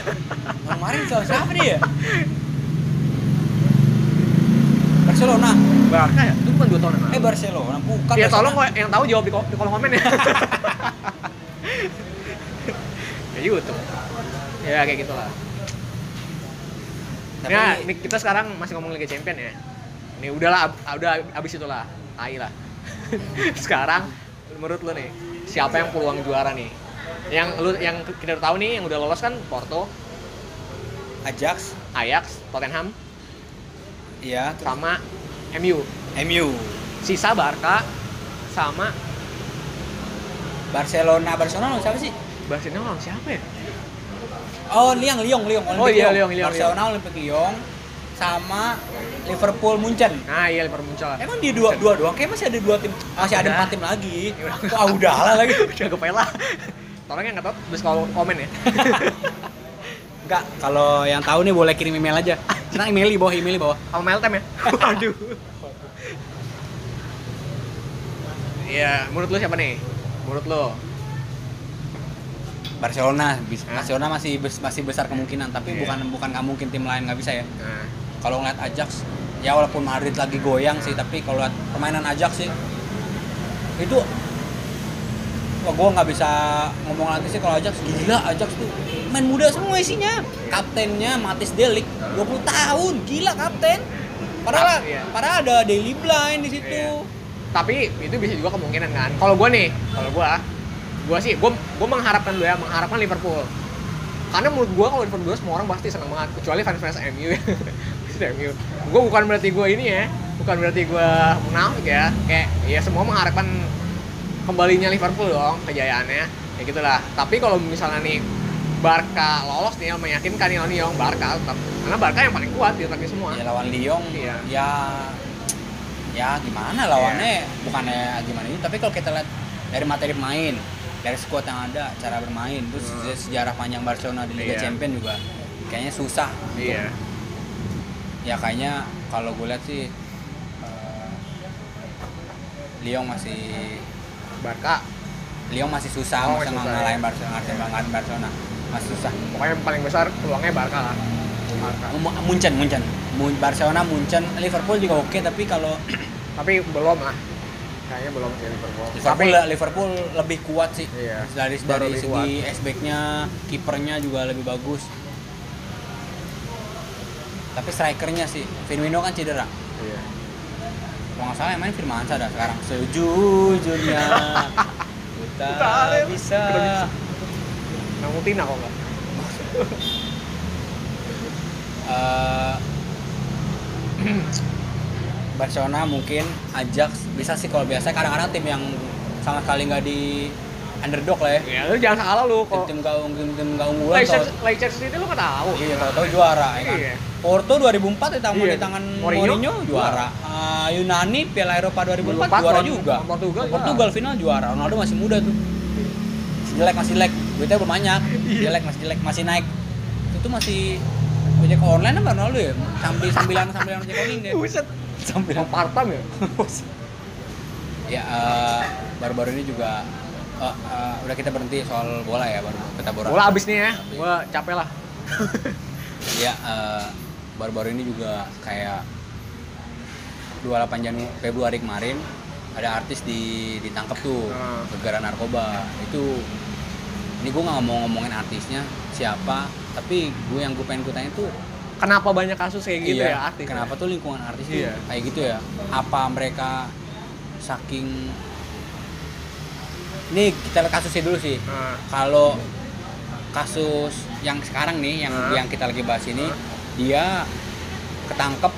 Speaker 2: Kemarin siapa siapa dia?
Speaker 1: [LAUGHS]
Speaker 2: Barcelona.
Speaker 1: Barca ya? Itu bukan 2 tahun yang lalu.
Speaker 2: Eh Barcelona bukan.
Speaker 1: ya
Speaker 2: Barcelona.
Speaker 1: tolong kok yang tahu jawab di, ko- di kolom komen ya. [LAUGHS] ya YouTube. Ya kayak gitulah.
Speaker 2: Tapi
Speaker 1: Ya,
Speaker 2: ini-
Speaker 1: ini kita sekarang masih ngomong Liga Champion ya. Ini udahlah, ab- udah abis itulah, tai lah. [LAUGHS] sekarang menurut lu nih, siapa yang peluang juara nih? Yang lu yang kita udah tahu nih yang udah lolos kan Porto,
Speaker 2: Ajax,
Speaker 1: Ajax, Tottenham
Speaker 2: iya, terus
Speaker 1: sama MU.
Speaker 2: MU,
Speaker 1: Sisa Barca sama
Speaker 2: Barcelona, Barcelona lawan siapa sih?
Speaker 1: Barcelona lawan siapa ya?
Speaker 2: Oh, Liang, Lyon, Lyon, Olympique
Speaker 1: iya,
Speaker 2: Lyon.
Speaker 1: Lyon, Lyon,
Speaker 2: Barcelona, Olympique Lyon, sama Liverpool Munchen.
Speaker 1: Nah iya Liverpool muncul.
Speaker 2: Emang di dua dua doang, kayak masih ada dua tim, masih ada
Speaker 1: Udah.
Speaker 2: empat tim lagi.
Speaker 1: Ya udah.
Speaker 2: Wah udahlah lagi.
Speaker 1: Udah gue pela. Orang yang nggak tahu terus kalau komen ya.
Speaker 2: Enggak, kalau yang tahu nih boleh kirim email aja. Nah email di bawah, email di bawah.
Speaker 1: Sama Meltem ya. Waduh. Iya, menurut lu siapa nih? Menurut lu?
Speaker 2: Barcelona, bis-
Speaker 1: Hah?
Speaker 2: Barcelona masih bes- masih besar kemungkinan, tapi
Speaker 1: Iya.
Speaker 2: bukan bukan nggak mungkin tim lain nggak bisa ya.
Speaker 1: Nah,
Speaker 2: Kalau ngeliat Ajax, ya walaupun Madrid lagi goyang sih, tapi kalau lihat permainan Ajax sih itu wah gue nggak bisa ngomong lagi sih kalau Ajax gila Ajax tuh main muda semua isinya kaptennya Matis Delik 20 tahun gila kapten padahal
Speaker 1: Iya.
Speaker 2: padahal ada Daily Blind di situ
Speaker 1: Iya. tapi itu bisa juga kemungkinan kan. Kalau gue nih, kalau gue, gue sih, gue gue mengharapkan lu ya, mengharapkan Liverpool. Karena menurut gue kalau Liverpool semua orang pasti seneng banget, kecuali fans-fans MU. ya. [LAUGHS] Fans MU. Gue bukan berarti gue ini ya, bukan berarti gue munafik ya. Kayak ya semua mengharapkan kembalinya Liverpool dong kejayaannya ya gitulah tapi kalau misalnya nih Barca lolos nih yang meyakinkan nih nih yang Barca tetap karena Barca yang paling kuat di atasnya semua
Speaker 2: ya lawan Lyon
Speaker 1: Iya.
Speaker 2: ya ya gimana
Speaker 1: Iya.
Speaker 2: lawannya bukannya gimana ini tapi kalau kita lihat dari materi pemain dari skuad yang ada cara bermain terus
Speaker 1: Hmm.
Speaker 2: sejarah panjang Barcelona di Liga
Speaker 1: Iya.
Speaker 2: Champions juga kayaknya susah
Speaker 1: iya
Speaker 2: ya kayaknya kalau gue lihat sih eh, Lyon masih
Speaker 1: Barca
Speaker 2: Lyon masih susah
Speaker 1: Oh, masih
Speaker 2: masa nggak
Speaker 1: susah, ya.
Speaker 2: ngalahin Barcelona masih nggak ngalahin Barcelona masih susah
Speaker 1: pokoknya yang paling besar peluangnya Barca lah Barca.
Speaker 2: Mu- Munchen Munchen Mun- Barcelona Munchen Liverpool juga oke tapi kalau
Speaker 1: tapi belum lah kayaknya belum sih Liverpool tapi
Speaker 2: Liverpool Liverpool lebih kuat sih
Speaker 1: Iya.
Speaker 2: dari
Speaker 1: Baru lebih
Speaker 2: dari segi S-backnya kipernya juga lebih bagus tapi strikernya sih Firmino kan cedera
Speaker 1: iya.
Speaker 2: kalau nggak salah yang main Firmansyah dah sekarang
Speaker 1: [LAUGHS]
Speaker 2: sejujurnya kita
Speaker 1: Kita
Speaker 2: bisa
Speaker 1: Kita bisa. ngikutin aku nggak
Speaker 2: Eh, [CLEARS THROAT] Barcelona mungkin Ajax bisa sih kalau biasanya kadang-kadang tim yang sama sekali nggak di underdog lah ya
Speaker 1: ya lu jangan salah lu kok
Speaker 2: tim-tim gak ung- tim-tim nggak unggulan
Speaker 1: Leicester
Speaker 2: tau-
Speaker 1: Leicester City lu nggak tahu
Speaker 2: Iya, tahu-tahu juara ya kan.
Speaker 1: Iya.
Speaker 2: Porto 2004 di tangan
Speaker 1: Iya.
Speaker 2: ya, di tangan
Speaker 1: Mourinho, Iya.
Speaker 2: Mourinho, juara. Ah, Yunani Piala Eropa 2004
Speaker 1: 2004
Speaker 2: juara
Speaker 1: lawan
Speaker 2: juga.
Speaker 1: Portugal, iya.
Speaker 2: Portugal final juara. Ronaldo masih muda tuh. Masih jelek masih jelek. Duitnya belum banyak.
Speaker 1: Iya.
Speaker 2: Jelek masih jelek masih naik. Itu tuh masih ojek online apa Ronaldo ya? Sambil sambilan sambilan ojek online ya? deh.
Speaker 1: buset
Speaker 2: Sambilan.
Speaker 1: Partam ya
Speaker 2: ya eh, baru-baru ini juga eh, eh, udah kita berhenti soal bola ya baru kita bola.
Speaker 1: bola abis nih ya gua capek lah
Speaker 2: Ya, eh, baru-baru ini juga kayak 28 Janu- Februari kemarin ada artis di ditangkap tuh
Speaker 1: Ah.
Speaker 2: gara narkoba. Itu ini gue nggak mau ngomongin artisnya siapa, tapi gue yang gue pengen gue tanya tuh
Speaker 1: kenapa banyak kasus kayak gitu ya
Speaker 2: iya,
Speaker 1: artis
Speaker 2: kenapa tuh lingkungan artis
Speaker 1: Iya.
Speaker 2: tuh kayak gitu ya? Apa mereka saking ini kita lihat kasusnya dulu sih
Speaker 1: Nah,
Speaker 2: kalau kasus yang sekarang nih yang
Speaker 1: Hah?
Speaker 2: yang kita lagi bahas ini
Speaker 1: Hah?
Speaker 2: dia ketangkep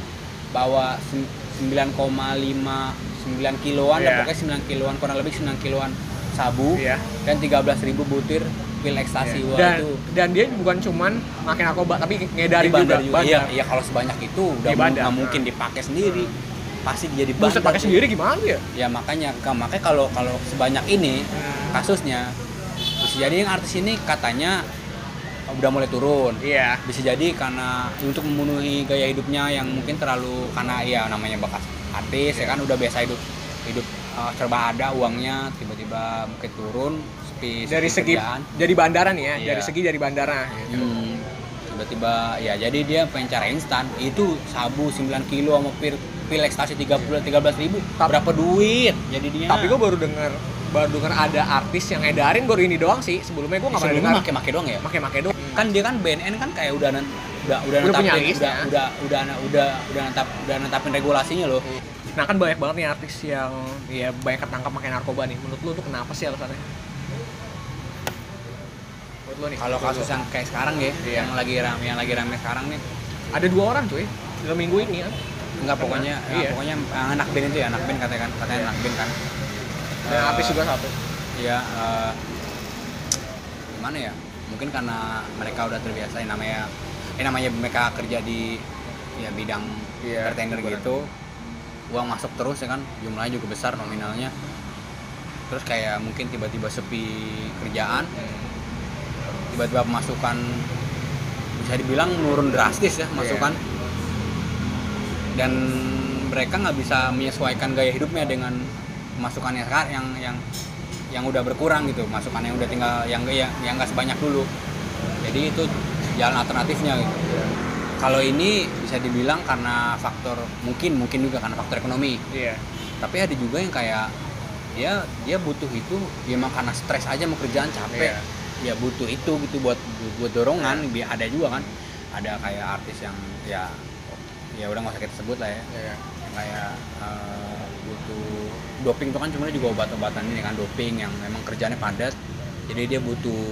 Speaker 2: bawa sem- 9,5 9 kiloan dan
Speaker 1: Iya.
Speaker 2: pokoknya 9 kiloan kurang lebih 9 kiloan sabu
Speaker 1: Iya.
Speaker 2: dan 13.000 butir pil ekstasi
Speaker 1: iya.
Speaker 2: wah
Speaker 1: dan
Speaker 2: itu
Speaker 1: dan dia bukan cuman makin narkoba tapi ngedari
Speaker 2: Di bandar
Speaker 1: juga, bandar.
Speaker 2: iya iya kalau sebanyak itu udah
Speaker 1: Di
Speaker 2: mu-
Speaker 1: bandar.
Speaker 2: nggak mungkin dipakai sendiri pasti dia di
Speaker 1: buset
Speaker 2: bandar
Speaker 1: pakai
Speaker 2: tuh.
Speaker 1: sendiri gimana ya
Speaker 2: ya makanya ka- makanya kalau kalau sebanyak ini kasusnya bisa jadi yang artis ini katanya udah mulai turun
Speaker 1: iya
Speaker 2: bisa jadi karena untuk memenuhi gaya hidupnya yang mungkin terlalu karena ya namanya bekas artis ya kan udah biasa hidup hidup uh, serba ada uangnya tiba-tiba mungkin turun sepi, sepi
Speaker 1: dari segi
Speaker 2: Iya, kerjaan.
Speaker 1: dari bandaran ya
Speaker 2: Iya.
Speaker 1: dari segi dari bandara gitu.
Speaker 2: Hmm, tiba-tiba ya jadi dia pengen cara instan itu sabu 9 kilo sama pil pil ekstasi 30 13 ribu
Speaker 1: Tapi-
Speaker 2: berapa duit jadi dia
Speaker 1: tapi gue baru dengar baru dengar ada artis yang edarin baru ini doang sih sebelumnya gue nggak pernah
Speaker 2: sebelumnya
Speaker 1: dengar
Speaker 2: make-make doang ya
Speaker 1: make make doang
Speaker 2: kan dia kan BNN kan kayak udah nan- udah udah
Speaker 1: Udah punya ya?
Speaker 2: nentapin
Speaker 1: listnya.
Speaker 2: udah udah udah udah udah nentap udah nentapin regulasinya loh
Speaker 1: nah kan banyak banget nih artis yang ya banyak ketangkap pakai narkoba nih menurut lu tuh kenapa sih alasannya menurut lu nih
Speaker 2: kalau
Speaker 1: menurut
Speaker 2: kasus
Speaker 1: lu.
Speaker 2: yang kayak sekarang ya
Speaker 1: Iya.
Speaker 2: yang lagi rame yang lagi rame sekarang nih
Speaker 1: ada dua orang cuy dalam minggu ini kan
Speaker 2: enggak pokoknya
Speaker 1: Iya.
Speaker 2: enggak, pokoknya eh, anak band itu ya anak band katanya kan katanya anak band kan
Speaker 1: dan
Speaker 2: Eh,
Speaker 1: artis juga satu
Speaker 2: ya eh, gimana ya mungkin karena mereka udah terbiasa yang namanya eh namanya mereka kerja di ya bidang
Speaker 1: Iya,
Speaker 2: entertainer
Speaker 1: hiburan.
Speaker 2: gitu uang masuk terus ya kan jumlahnya juga besar nominalnya terus kayak mungkin tiba-tiba sepi kerjaan tiba-tiba masukan bisa dibilang menurun drastis ya masukan dan mereka nggak bisa menyesuaikan gaya hidupnya dengan masukannya sekarang yang yang yang udah berkurang gitu masukan yang udah tinggal yang yang yang nggak sebanyak dulu jadi itu jalan alternatifnya gitu kalau ini bisa dibilang karena faktor mungkin mungkin juga karena faktor ekonomi
Speaker 1: iya
Speaker 2: tapi ada juga yang kayak dia dia butuh itu ya emang karena stres aja mau kerjaan capek
Speaker 1: Iya.
Speaker 2: ya butuh itu gitu buat buat- buat dorongan Bi- ada juga kan ada kayak artis yang ya ya udah nggak usah kita sebut lah ya
Speaker 1: iya
Speaker 2: Yang kayak eh, butuh doping itu kan cuma juga obat-obatan ini kan doping yang memang kerjaannya padat jadi dia butuh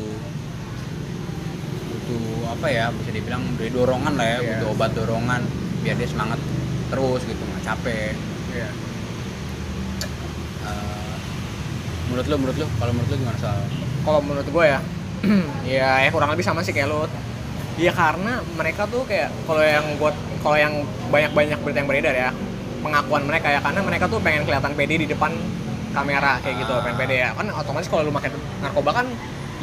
Speaker 2: butuh apa ya bisa dibilang dari dorongan lah ya
Speaker 1: Iya.
Speaker 2: butuh obat dorongan biar dia semangat terus gitu nggak capek
Speaker 1: iya
Speaker 2: Eh, menurut lo menurut lo kalau menurut lo gimana soal
Speaker 1: kalau menurut gue ya [CLEARS THROAT] ya ya kurang lebih sama sih kayak lu ya karena mereka tuh kayak kalau yang buat kalau yang banyak banyak berita yang beredar ya pengakuan mereka ya karena mereka tuh pengen kelihatan pede di depan kamera kayak gitu
Speaker 2: Ah.
Speaker 1: pengen pede ya kan otomatis kalau lu makan narkoba kan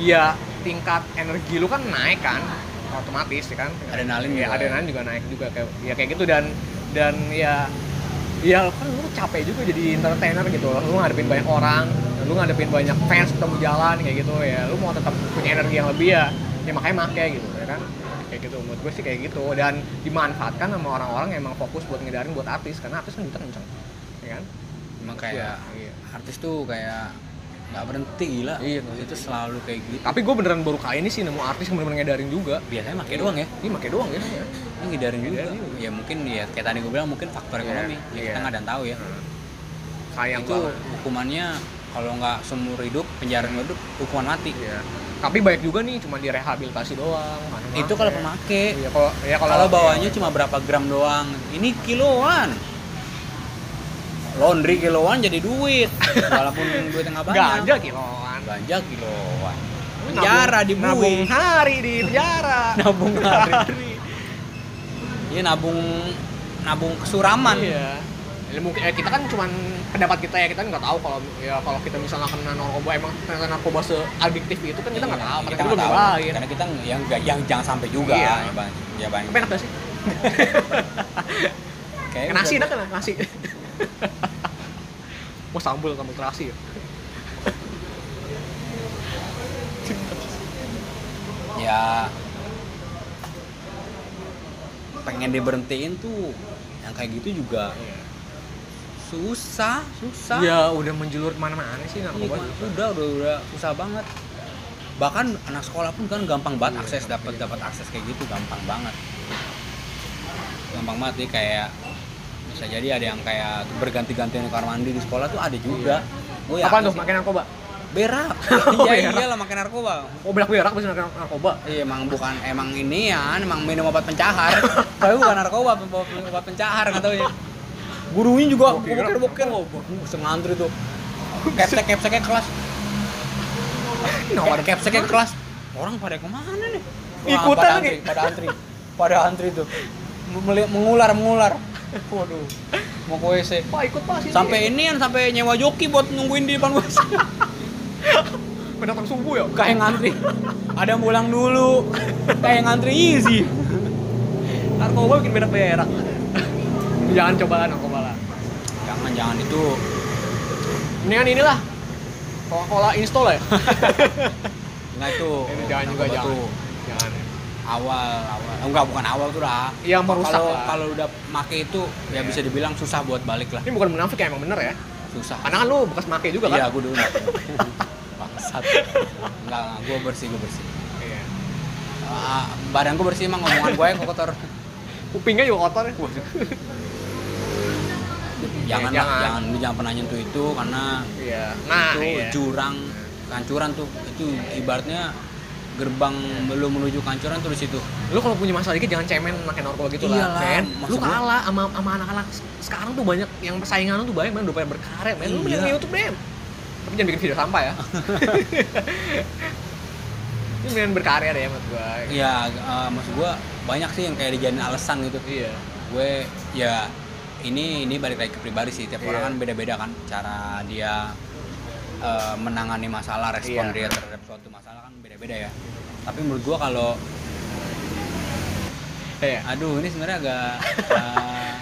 Speaker 1: ya tingkat energi lu kan naik kan otomatis ya kan
Speaker 2: Adrenalin gitu?
Speaker 1: ya
Speaker 2: juga.
Speaker 1: adrenalin juga naik juga kayak ya kayak gitu dan dan ya ya kan lu capek juga jadi entertainer gitu lu ngadepin banyak orang lu ngadepin banyak fans ketemu jalan kayak gitu ya lu mau tetap punya energi yang lebih ya ya makanya make gitu ya kan kayak gitu menurut gue sih kayak gitu dan dimanfaatkan sama orang-orang yang emang fokus buat ngedarin buat artis karena artis kan duitnya kenceng ya kan
Speaker 2: emang kayak
Speaker 1: Iya.
Speaker 2: artis tuh kayak nggak berhenti gila
Speaker 1: Iya, nggak
Speaker 2: itu selalu kayak gitu
Speaker 1: tapi gue beneran baru kali ini sih nemu artis yang bener-bener ngedarin juga
Speaker 2: biasanya pakai doang ya
Speaker 1: iya make doang ya
Speaker 2: ini ngedarin juga
Speaker 1: Ngedarin juga.
Speaker 2: ya mungkin ya kayak tadi gue bilang mungkin faktor
Speaker 1: Iya,
Speaker 2: ekonomi ya
Speaker 1: iya.
Speaker 2: kita nggak ada yang tahu ya
Speaker 1: sayang
Speaker 2: itu
Speaker 1: banget
Speaker 2: hukumannya kalau nggak seumur hidup penjara seumur hidup hukuman mati
Speaker 1: Iya. tapi banyak juga nih cuma direhabilitasi doang nggak
Speaker 2: itu kalau
Speaker 1: make.
Speaker 2: pemakai
Speaker 1: Iya kalau ya kalau
Speaker 2: kalau bawahnya cuma berapa gram doang ini kiloan laundry kiloan jadi
Speaker 1: [LAUGHS]
Speaker 2: duit walaupun duit nggak banyak
Speaker 1: ganja kiloan.
Speaker 2: ganja kiloan
Speaker 1: Lu
Speaker 2: penjara
Speaker 1: nabung-
Speaker 2: di
Speaker 1: Nabung
Speaker 2: bui
Speaker 1: hari di penjara.
Speaker 2: [LAUGHS] nabung hari ini Iya, nabung nabung kesuraman
Speaker 1: Iya. Ya, mungkin ya, kita kan cuman pendapat kita ya kita nggak tahu kalau ya kalau kita misalnya kena narkoba emang ternyata narkoba seadiktif itu kan kita nggak
Speaker 2: Iya,
Speaker 1: tahu
Speaker 2: kita
Speaker 1: kita
Speaker 2: nggak
Speaker 1: belum
Speaker 2: tahu
Speaker 1: nyobain
Speaker 2: karena kita nggak- yang nggak- yang jangan sampai juga
Speaker 1: Iya.
Speaker 2: ya bang ya bang
Speaker 1: tapi enak gak sih
Speaker 2: Kayaknya
Speaker 1: kena nasi
Speaker 2: udah-
Speaker 1: dah kena nasi [LAUGHS] mau sambal sambal terasi ya
Speaker 2: ya pengen diberhentiin tuh yang kayak gitu juga susah susah
Speaker 1: ya udah menjulur kemana-mana sih
Speaker 2: Iya,
Speaker 1: narkoba
Speaker 2: udah udah udah susah banget bahkan anak sekolah pun kan gampang banget
Speaker 1: Iya,
Speaker 2: akses dapat
Speaker 1: iya.
Speaker 2: dapat akses kayak gitu gampang banget gampang banget nih kayak bisa jadi ada yang kayak berganti-gantian kamar mandi di sekolah tuh ada juga Gua
Speaker 1: apa tuh
Speaker 2: yakin sih.
Speaker 1: makin narkoba [LAUGHS]
Speaker 2: berak
Speaker 1: Oh,
Speaker 2: iya
Speaker 1: berak.
Speaker 2: iyalah makan narkoba
Speaker 1: oh belak berak bisa makin narkoba
Speaker 2: Iya, emang bukan emang ini ya, emang minum obat
Speaker 1: [LAUGHS]
Speaker 2: pencahar. Tapi bukan narkoba, obat, obat pencahar nggak tahu ya. Gurunya juga
Speaker 1: Gua kira-
Speaker 2: boker boker loh, bisa ngantri tuh. Kepsek kepseknya kelas, Iya.
Speaker 1: nawar
Speaker 2: kepseknya ya kelas. Orang pada kemana nih? Wah,
Speaker 1: Ikutan
Speaker 2: pada
Speaker 1: lagi.
Speaker 2: antri, pada antri, pada antri tuh. Meli- mengular mengular. Waduh, mau ke WC.
Speaker 1: pak ikut pak sini
Speaker 2: Sampai ini kan sampai nyewa joki buat nungguin di depan WC.
Speaker 1: pendatang subuh ya
Speaker 2: [LAUGHS] kayak ngantri ada yang pulang dulu kayak ngantri easy
Speaker 1: narkoba bikin berak berak [LAUGHS] jangan coba lah narkoba lah
Speaker 2: jangan jangan itu
Speaker 1: mendingan inilah coca cola install
Speaker 2: [LAUGHS]
Speaker 1: lah ya
Speaker 2: enggak itu
Speaker 1: Ini jangan juga
Speaker 2: narkoba
Speaker 1: jangan
Speaker 2: tuh
Speaker 1: jangan ya.
Speaker 2: awal awal Oh, enggak bukan awal tuh lah
Speaker 1: Yang merusak
Speaker 2: kalau
Speaker 1: lah.
Speaker 2: kalau udah make itu
Speaker 1: Iya.
Speaker 2: ya bisa dibilang susah buat balik lah
Speaker 1: ini bukan munafik ya emang bener ya
Speaker 2: susah
Speaker 1: karena kan lu bekas make juga kan
Speaker 2: iya gue dulu bangsat enggak gue bersih gue bersih
Speaker 1: iya.
Speaker 2: Ah, badan gue bersih emang omongan gue yang kotor
Speaker 1: kupingnya juga kotor ya
Speaker 2: jangan
Speaker 1: Iya,
Speaker 2: lah,
Speaker 1: jangan.
Speaker 2: jangan lu jangan pernah nyentuh itu karena
Speaker 1: [LAUGHS] iya nah
Speaker 2: itu
Speaker 1: iya.
Speaker 2: jurang kancuran tuh itu ibaratnya gerbang belum menuju kancuran tuh di situ
Speaker 1: lu kalau punya masalah dikit jangan cemen pakai narkoba gitu lah
Speaker 2: Iyalah,
Speaker 1: men lu
Speaker 2: maksud gua-
Speaker 1: kalah sama sama anak-anak sekarang tuh banyak yang persaingan lu tuh banyak men udah pada berkarir men lu mending
Speaker 2: Iya.
Speaker 1: di YouTube men tapi jangan bikin video sampah
Speaker 2: [LAUGHS]
Speaker 1: ya lu mendingan berkarya deh menurut gua
Speaker 2: ya eh, maksud gua banyak sih yang kayak dijadiin alasan gitu
Speaker 1: iya
Speaker 2: gue ya ini ini balik lagi ke pribadi sih tiap orang
Speaker 1: Iya.
Speaker 2: kan beda-beda kan cara dia eh, menangani masalah respon
Speaker 1: Iya.
Speaker 2: dia terhadap suatu masalah kan beda-beda ya tapi menurut gue kalau
Speaker 1: Iya.
Speaker 2: aduh ini sebenarnya
Speaker 1: [LAUGHS]
Speaker 2: agak eh,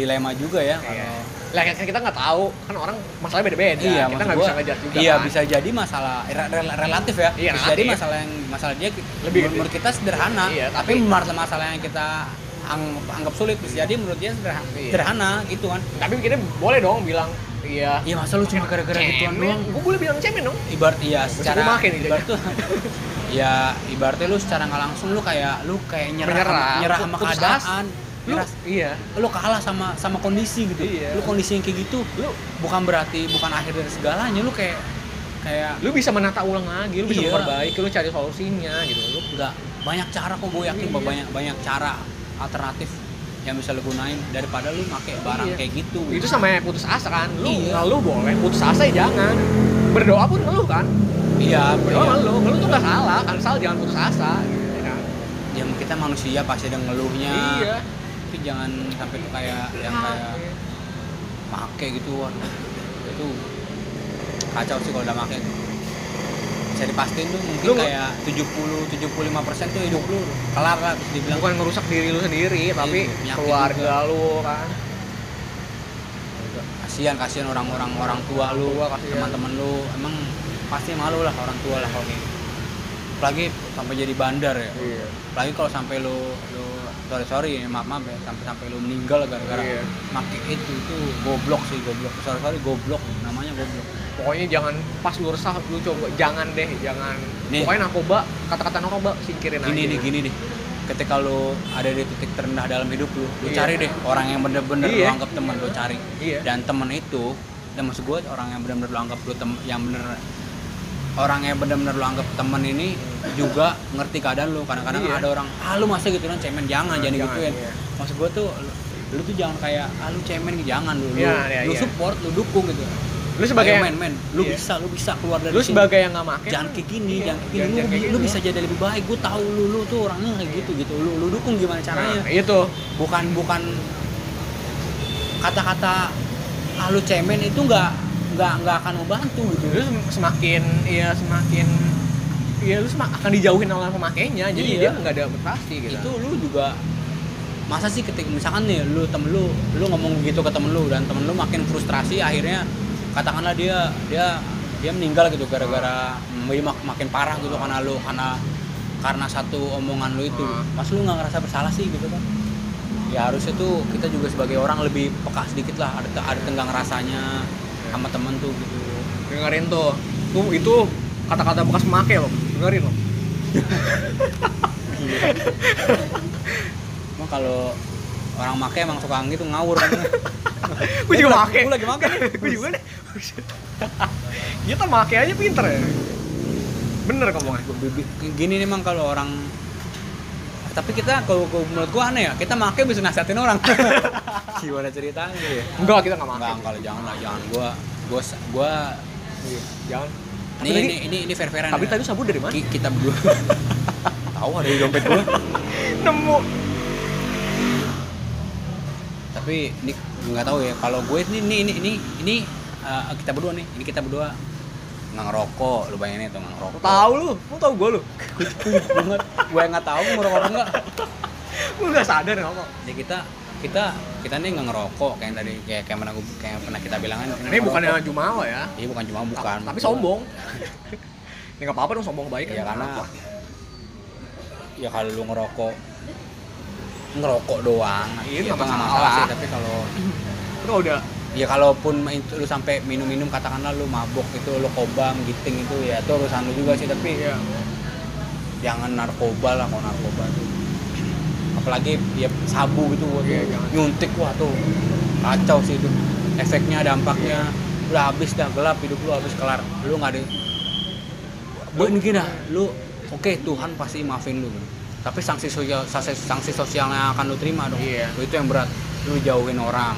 Speaker 2: dilema juga
Speaker 1: Iya.
Speaker 2: ya kalau
Speaker 1: Lah kan kita nggak tahu kan orang masalahnya beda-beda.
Speaker 2: iya,
Speaker 1: kita
Speaker 2: maksud
Speaker 1: nggak
Speaker 2: gua,
Speaker 1: bisa ngejar juga.
Speaker 2: Iya,
Speaker 1: kan.
Speaker 2: bisa jadi masalah re- re- relatif ya.
Speaker 1: Iya,
Speaker 2: bisa
Speaker 1: relatif.
Speaker 2: jadi masalah yang masalah dia
Speaker 1: Lebih
Speaker 2: lebih menurut kita sederhana.
Speaker 1: Iya,
Speaker 2: tapi,
Speaker 1: tapi-
Speaker 2: masalah masalah yang kita anggap, anggap sulit bisa jadi menurut dia sederhana,
Speaker 1: Iya.
Speaker 2: sederhana gitu kan.
Speaker 1: Tapi kita boleh dong bilang iya.
Speaker 2: Iya, masa lu cuma gara-gara gituan doang.
Speaker 1: Gue boleh bilang cemen dong.
Speaker 2: Ibarat iya
Speaker 1: gua
Speaker 2: secara
Speaker 1: makin gitu.
Speaker 2: ibarat [LAUGHS] tuh ya ibaratnya lu secara nggak langsung lu kayak lu kayak nyerah sama-
Speaker 1: Menyerah,
Speaker 2: nyerah sama
Speaker 1: putus asa.
Speaker 2: keadaan.
Speaker 1: Lu
Speaker 2: Nyerah
Speaker 1: iya.
Speaker 2: lu kalah sama sama kondisi gitu
Speaker 1: Iya.
Speaker 2: lu kondisi yang kayak gitu lu bukan berarti bukan akhir dari segalanya lu kayak kayak
Speaker 1: Lu bisa menata ulang lagi, lu bisa
Speaker 2: Iya.
Speaker 1: memperbaiki, lu cari solusinya gitu. Lu
Speaker 2: nggak banyak cara kok gue yakin
Speaker 1: Iya.
Speaker 2: banyak banyak cara alternatif yang bisa lo gunain daripada lu pakai barang
Speaker 1: Iya.
Speaker 2: kayak gitu
Speaker 1: itu sama kayak putus asa kan. Lu
Speaker 2: Iya.
Speaker 1: ngeluh boleh, putus asa ya jangan. Berdoa pun ngeluh kan.
Speaker 2: iya
Speaker 1: Berdoa
Speaker 2: iya.
Speaker 1: ngeluh, ngeluh tuh nggak salah, kan salah jangan putus asa gitu ya kan.
Speaker 2: ya kita manusia pasti ada ngeluhnya
Speaker 1: Iya.
Speaker 2: tapi jangan sampai tuh kayak yang kayak make gitu waduh itu kacau sih kalau udah make bisa dipastiin tuh mungkin
Speaker 1: Lu nge-
Speaker 2: kayak 70 75% tuh hidup lu kelar lah terus dibilang
Speaker 1: Bukan ngerusak diri lu
Speaker 2: Iya,
Speaker 1: sendiri, tapi
Speaker 2: penyakit
Speaker 1: keluarga lu kan.
Speaker 2: kasihan kasihan orang-orang orang tua
Speaker 1: Orang
Speaker 2: lu
Speaker 1: tua, kasihan.
Speaker 2: teman-teman lu emang pasti malu lah orang tua lah kalau kayak gitu. apalagi sampai jadi bandar ya
Speaker 1: Iya.
Speaker 2: apalagi kalau sampai lu lu sorry sorry ya, maaf maaf ya sampai sampai lu meninggal gara-gara
Speaker 1: Iya.
Speaker 2: make itu itu goblok sih goblok sorry sorry goblok namanya goblok
Speaker 1: pokoknya jangan pas lu resah lu coba jangan deh jangan
Speaker 2: Nih.
Speaker 1: pokoknya narkoba kata-kata narkoba singkirin aja
Speaker 2: gini nih gini nih ketika lu ada di titik terendah dalam hidup lu lu
Speaker 1: Iya.
Speaker 2: cari deh orang yang bener-bener lu
Speaker 1: Iya.
Speaker 2: anggap teman lu cari
Speaker 1: Iya.
Speaker 2: dan temen itu dan maksud gue orang yang benar-benar lu anggap lu tem yang bener orang yang benar-benar lu anggap temen ini juga ngerti keadaan lu kadang-kadang
Speaker 1: Iya.
Speaker 2: ada orang ah lu masa gitu kan cemen jangan
Speaker 1: Nah,
Speaker 2: jangan
Speaker 1: jangan,
Speaker 2: digituin
Speaker 1: iya.
Speaker 2: maksud gue tuh lu, lu tuh jangan kayak ah lu cemen jangan lu
Speaker 1: Iya,
Speaker 2: lu,
Speaker 1: iya,
Speaker 2: lu
Speaker 1: iya.
Speaker 2: support lu dukung gitu
Speaker 1: lu sebagai
Speaker 2: Ayo, men men lu
Speaker 1: Iya.
Speaker 2: bisa lu bisa keluar dari
Speaker 1: lu
Speaker 2: sini
Speaker 1: sebagai yang nggak make
Speaker 2: jangan kayak gini,
Speaker 1: Iya,
Speaker 2: jangan kayak gini.
Speaker 1: jangan-
Speaker 2: Lu,
Speaker 1: jangan kayak
Speaker 2: lu
Speaker 1: gitu.
Speaker 2: bisa jadi lebih baik. Gue tahu lu, lu tuh orangnya kayak gitu gitu. Lu, lu dukung gimana caranya?
Speaker 1: nah, itu
Speaker 2: Bukan bukan kata-kata ah lu cemen itu nggak nggak nggak akan membantu gitu.
Speaker 1: lu sem- semakin ya semakin ya lu semak, akan dijauhin oleh pemakainya jadi
Speaker 2: Iya.
Speaker 1: dia nggak ada motivasi gitu
Speaker 2: Itu lu juga masa sih ketika misalkan nih lu temen lu lu ngomong gitu ke temen lu dan temen lu makin frustrasi akhirnya katakanlah dia dia dia meninggal gitu gara-gara dia mak- makin parah gitu karena lu karena karena satu omongan lu itu
Speaker 1: Hmm.
Speaker 2: mas lu nggak ngerasa bersalah sih gitu kan ya harusnya tuh kita juga sebagai orang lebih peka sedikit lah ada ada tenggang rasanya sama temen tuh gitu
Speaker 1: dengerin tuh tuh itu kata-kata bekas pemakai loh dengerin
Speaker 2: [LAUGHS]
Speaker 1: loh
Speaker 2: emang kalau orang make emang suka gitu ngawur
Speaker 1: gue juga make
Speaker 2: Gua lagi make
Speaker 1: [LAUGHS]
Speaker 2: nih.
Speaker 1: gue juga deh kita make aja pinter ya bener kamu
Speaker 2: Bibi- gini nih mang kalau orang tapi kita kalau kalau menurut gua aneh ya kita make bisa nasihatin orang gimana ceritanya ya
Speaker 1: enggak kita nggak make
Speaker 2: enggak kalau jangan lah jangan gua gua gua
Speaker 1: Iya, jangan
Speaker 2: ini
Speaker 1: Tapi
Speaker 2: ini ini, ini fair fairan
Speaker 1: Tapi tadi sabu dari mana?
Speaker 2: kita berdua [LAUGHS] tahu ada di dompet gua
Speaker 1: [LAUGHS] Nemu.
Speaker 2: tapi ini nggak tahu ya kalau gue ini ini ini ini, ini eh, kita berdua nih ini kita berdua nggak ngerokok lu bayangin itu nggak ngerokok
Speaker 1: Tahu lu, lu tahu gua lu.
Speaker 2: [LAUGHS] banget gue nggak tahu ngerokok apa enggak
Speaker 1: Gua enggak sadar ngomong.
Speaker 2: ya kita kita kita nih nggak ngerokok kayak yang tadi kayak kayak pernah gua- kayak pernah kita bilang kan kita
Speaker 1: Ini
Speaker 2: nggak
Speaker 1: bukannya
Speaker 2: ngerokok.
Speaker 1: Jumawa ya.
Speaker 2: iya bukan cuma bukan
Speaker 1: Tapi sombong. Ini enggak apa-apa dong sombong baik kan.
Speaker 2: ya karena ya kalau lu ngerokok ngerokok doang
Speaker 1: Iya,
Speaker 2: itu
Speaker 1: nggak
Speaker 2: nggak
Speaker 1: masalah.
Speaker 2: masalah sih tapi kalau
Speaker 1: itu udah
Speaker 2: ya kalaupun itu lu sampai minum-minum katakanlah lu mabuk itu lu kobam giting itu ya itu urusan lu juga sih tapi
Speaker 1: iya.
Speaker 2: jangan narkoba lah kalau narkoba tuh apalagi ya sabu gitu gua tuh,
Speaker 1: Iya, jangan.
Speaker 2: nyuntik wah tuh kacau sih itu efeknya dampaknya
Speaker 1: Iya.
Speaker 2: udah habis dah gelap hidup lu habis kelar lu nggak ada buat gini dah lu oke Tuhan pasti maafin lu tapi sanksi sosial sanksi, sanksi sosialnya akan lu terima dong
Speaker 1: Iya.
Speaker 2: itu yang berat lu jauhin orang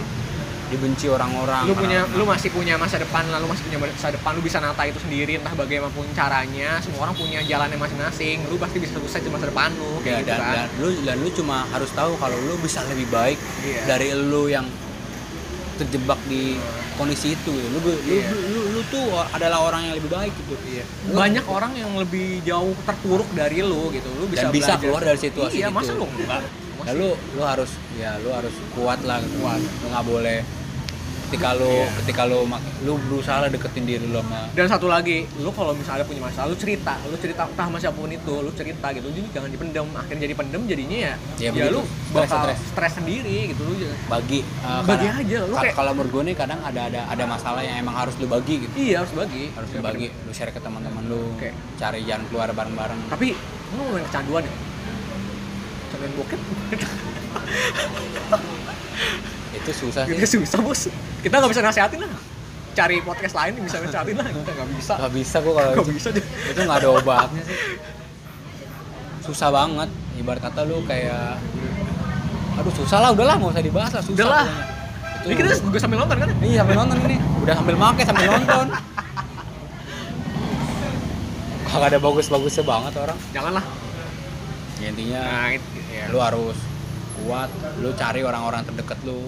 Speaker 2: dibenci orang-orang.
Speaker 1: lu
Speaker 2: karena-
Speaker 1: punya lu masih punya masa depan lah, lu masih punya masa depan lu bisa nata itu sendiri entah bagaimanapun caranya semua orang punya jalannya masing-masing lu pasti bisa sukses di masa depan lu kayak
Speaker 2: Ya,
Speaker 1: gitu
Speaker 2: dan,
Speaker 1: kan
Speaker 2: dan lu dan lu cuma harus tahu kalau lu bisa lebih baik
Speaker 1: Iya.
Speaker 2: dari lu yang terjebak di kondisi itu gitu. Lu, lu,
Speaker 1: Iya.
Speaker 2: lu, lu, lu tuh adalah orang yang lebih baik gitu.
Speaker 1: Iya. banyak orang yang lebih jauh terpuruk dari lu gitu lu bisa
Speaker 2: Dan bisa
Speaker 1: belajar.
Speaker 2: keluar dari situasi
Speaker 1: iya
Speaker 2: itu.
Speaker 1: masa lu enggak Masa
Speaker 2: Lalu lu harus ya lu harus kuat Iya. lah gitu.
Speaker 1: Kuat.
Speaker 2: Lu nggak boleh ketika lu ketika lu mak- lu berusaha lah deketin diri lu sama
Speaker 1: dan satu lagi lu kalau misalnya punya masalah lu cerita lu cerita entah sama siapapun itu lu cerita gitu jadi jangan dipendem akhirnya jadi pendem jadinya ya
Speaker 2: Ya,
Speaker 1: ya,
Speaker 2: begitu.
Speaker 1: lu
Speaker 2: Stres,
Speaker 1: bakal
Speaker 2: stres.
Speaker 1: stres, sendiri gitu lu jangan-
Speaker 2: bagi eh,
Speaker 1: Bagi
Speaker 2: karena-
Speaker 1: aja, lu
Speaker 2: ka-
Speaker 1: kayak-
Speaker 2: kalau menurut gue nih kadang ada ada ada masalah yang emang harus lu bagi gitu
Speaker 1: iya harus bagi
Speaker 2: harus lu
Speaker 1: Jangan
Speaker 2: bagi
Speaker 1: pendem.
Speaker 2: lu share ke teman-teman lu
Speaker 1: Oke.
Speaker 2: cari jalan keluar bareng-bareng
Speaker 1: tapi lu ngomongin kecanduan ya kecanduan bokep
Speaker 2: itu susah sih
Speaker 1: itu susah bos kita nggak bisa nasehatin lah cari podcast lain yang bisa nasehatin lah kita nggak bisa
Speaker 2: nggak bisa gua kalau
Speaker 1: nggak
Speaker 2: itu.
Speaker 1: bisa deh
Speaker 2: itu nggak ada obatnya sih susah banget ibarat kata lu kayak aduh susah lah udahlah nggak usah dibahas lah susah
Speaker 1: Udah lah.
Speaker 2: pokoknya. itu
Speaker 1: ini kita juga sambil nonton kan
Speaker 2: iya sambil nonton ini udah sambil make sambil nonton kagak ada bagus-bagusnya banget orang
Speaker 1: janganlah
Speaker 2: ya, intinya
Speaker 1: nah, it- ya.
Speaker 2: lu harus kuat lu cari orang-orang terdekat lu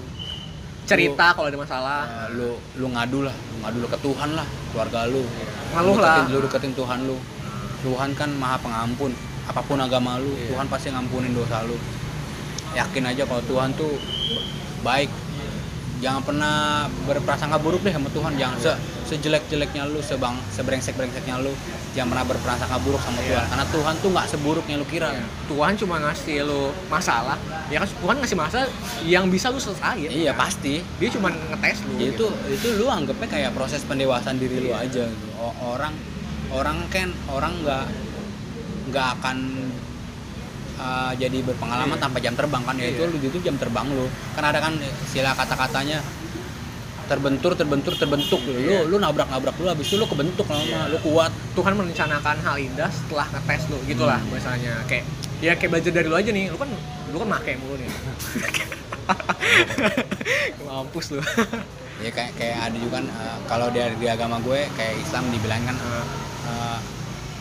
Speaker 1: cerita kalau ada masalah
Speaker 2: Eh, lu lu ngadu lah lu ngadu lu ke Tuhan lah keluarga lu
Speaker 1: Ngeluh
Speaker 2: Lu
Speaker 1: lah.
Speaker 2: deketin- lu deketin Tuhan lu Tuhan kan maha pengampun apapun agama lu
Speaker 1: Iya.
Speaker 2: Tuhan pasti ngampunin dosa lu yakin aja kalau Tuhan tuh baik jangan pernah berprasangka buruk deh sama Tuhan jangan se sejelek jeleknya lu sebang sebrengsek brengseknya lu jangan pernah berprasangka buruk sama
Speaker 1: Iya.
Speaker 2: Tuhan karena Tuhan tuh nggak seburuk yang lu kira
Speaker 1: Tuhan cuma ngasih lu masalah ya kan Tuhan ngasih masalah yang bisa lu selesai ya.
Speaker 2: iya pasti
Speaker 1: dia cuma ngetes lu
Speaker 2: Ya itu
Speaker 1: gitu.
Speaker 2: itu lu anggapnya kayak proses pendewasaan diri
Speaker 1: Iya.
Speaker 2: lu aja gitu. O- orang orang kan orang nggak nggak akan uh, jadi berpengalaman
Speaker 1: Iya.
Speaker 2: tanpa jam terbang kan ya itu
Speaker 1: Iya.
Speaker 2: lu itu jam terbang lu kan ada kan sila kata-katanya terbentur terbentur terbentuk gitu. lu
Speaker 1: Iya.
Speaker 2: lu, lu nabrak nabrak lu habis itu lu kebentuk lama
Speaker 1: Iya.
Speaker 2: lu kuat
Speaker 1: Tuhan merencanakan hal indah setelah ngetes lu gitulah
Speaker 2: Hmm.
Speaker 1: bahasanya kayak ya kayak belajar dari lu aja nih lu kan lu kan make mulu
Speaker 2: [LAUGHS]
Speaker 1: nih mampus lu
Speaker 2: ya kayak kayak ada juga kan uh, kalau dari di agama gue kayak Islam dibilang kan uh,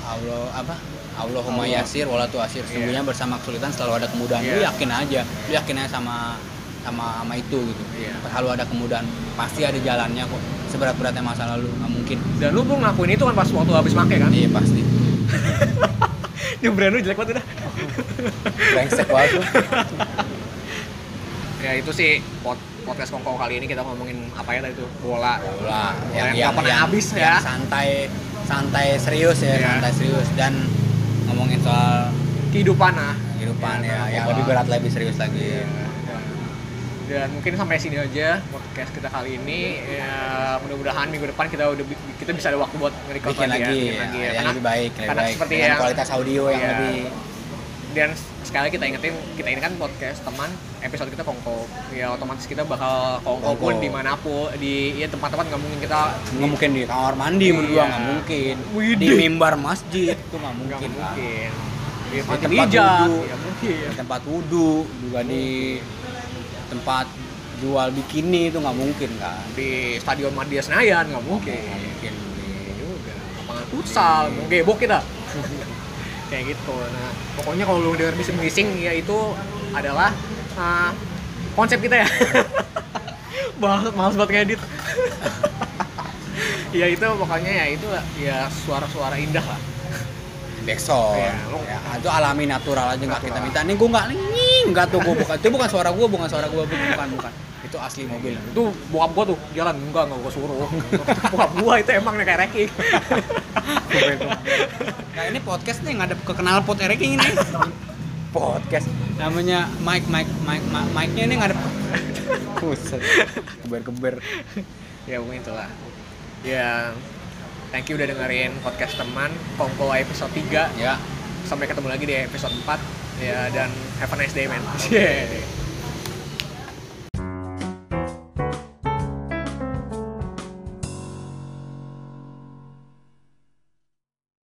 Speaker 2: Allah apa Allahumma
Speaker 1: Allah.
Speaker 2: yasir wala tu asir sesungguhnya bersama kesulitan selalu ada kemudahan lu
Speaker 1: Iya.
Speaker 2: yakin aja lu yakin aja sama sama sama itu gitu
Speaker 1: Iya.
Speaker 2: selalu ada kemudahan pasti ada jalannya kok seberat beratnya masa lalu nggak mungkin
Speaker 1: dan lu belum ngelakuin itu kan pas waktu habis make kan
Speaker 2: iya pasti
Speaker 1: dia brand lu jelek banget udah
Speaker 2: brengsek banget lu.
Speaker 1: ya itu sih pod- podcast kongko kali ini kita ngomongin apa ya tadi itu bola
Speaker 2: bola
Speaker 1: Yang
Speaker 2: yang
Speaker 1: nggak pernah habis ya.
Speaker 2: yang santai santai serius ya
Speaker 1: Iya.
Speaker 2: santai serius dan ngomongin soal
Speaker 1: kehidupan nah
Speaker 2: kehidupan
Speaker 1: Iya,
Speaker 2: ya, yang
Speaker 1: bola.
Speaker 2: lebih berat lebih serius lagi
Speaker 1: dan mungkin sampai sini aja podcast kita kali ini ya mudah-mudahan minggu depan kita udah bi- kita bisa ada waktu buat nge-record
Speaker 2: bikin
Speaker 1: ya,
Speaker 2: lagi,
Speaker 1: bikin lagi ya.
Speaker 2: yang
Speaker 1: Karena-
Speaker 2: lebih baik, yang lebih
Speaker 1: karena
Speaker 2: baik.
Speaker 1: seperti
Speaker 2: dengan
Speaker 1: yang-
Speaker 2: kualitas audio yang
Speaker 1: Iya.
Speaker 2: lebih
Speaker 1: dan sekali kita ingetin kita ini kan podcast teman episode kita kongko ya otomatis kita bakal kongko
Speaker 2: Kongko.
Speaker 1: pun dimanapun di ya tempat-tempat nggak mungkin kita
Speaker 2: nggak mungkin di kamar mandi menurut gua
Speaker 1: Iya.
Speaker 2: nggak mungkin di
Speaker 1: Widih.
Speaker 2: mimbar masjid itu nggak
Speaker 1: nggak
Speaker 2: mungkin, Pak.
Speaker 1: mungkin di
Speaker 2: Di
Speaker 1: panti
Speaker 2: tempat
Speaker 1: pijat
Speaker 2: duduk.
Speaker 1: ya mungkin
Speaker 2: di tempat wudhu juga di tempat jual bikini itu nggak mungkin kan
Speaker 1: di stadion Madia Senayan nggak mungkin
Speaker 2: nggak mungkin
Speaker 1: lapangan futsal mau gebok kita kayak gitu nah pokoknya kalau lu denger bising bising ya itu adalah uh, konsep kita ya [LAUGHS] banget males banget ngedit [LAUGHS] ya itu pokoknya ya itu ya suara-suara indah lah
Speaker 2: besok
Speaker 1: Iya, lu-
Speaker 2: ya, itu alami natural aja nggak kita
Speaker 1: Natural.
Speaker 2: minta nih gua nggak nying nggak tuh gua bukan itu bukan suara gua bukan suara gua bukan bukan itu asli mobil
Speaker 1: itu bokap gua tuh jalan enggak enggak gua suruh [LAUGHS] bokap gua itu emang kayak reki
Speaker 2: Nah ini podcast nih ngadep ke kenal pot Eric ini. podcast [LAUGHS] namanya Mike Mike Mike Mike Mike-nya ini ngadep. [LAUGHS] Buset. Keber-keber.
Speaker 1: ya mungkin itulah ya thank you udah dengerin podcast teman Kongko episode 3
Speaker 2: Ya.
Speaker 1: [LAUGHS] sampai ketemu lagi di episode 4 ya dan have a nice day man. Yeah.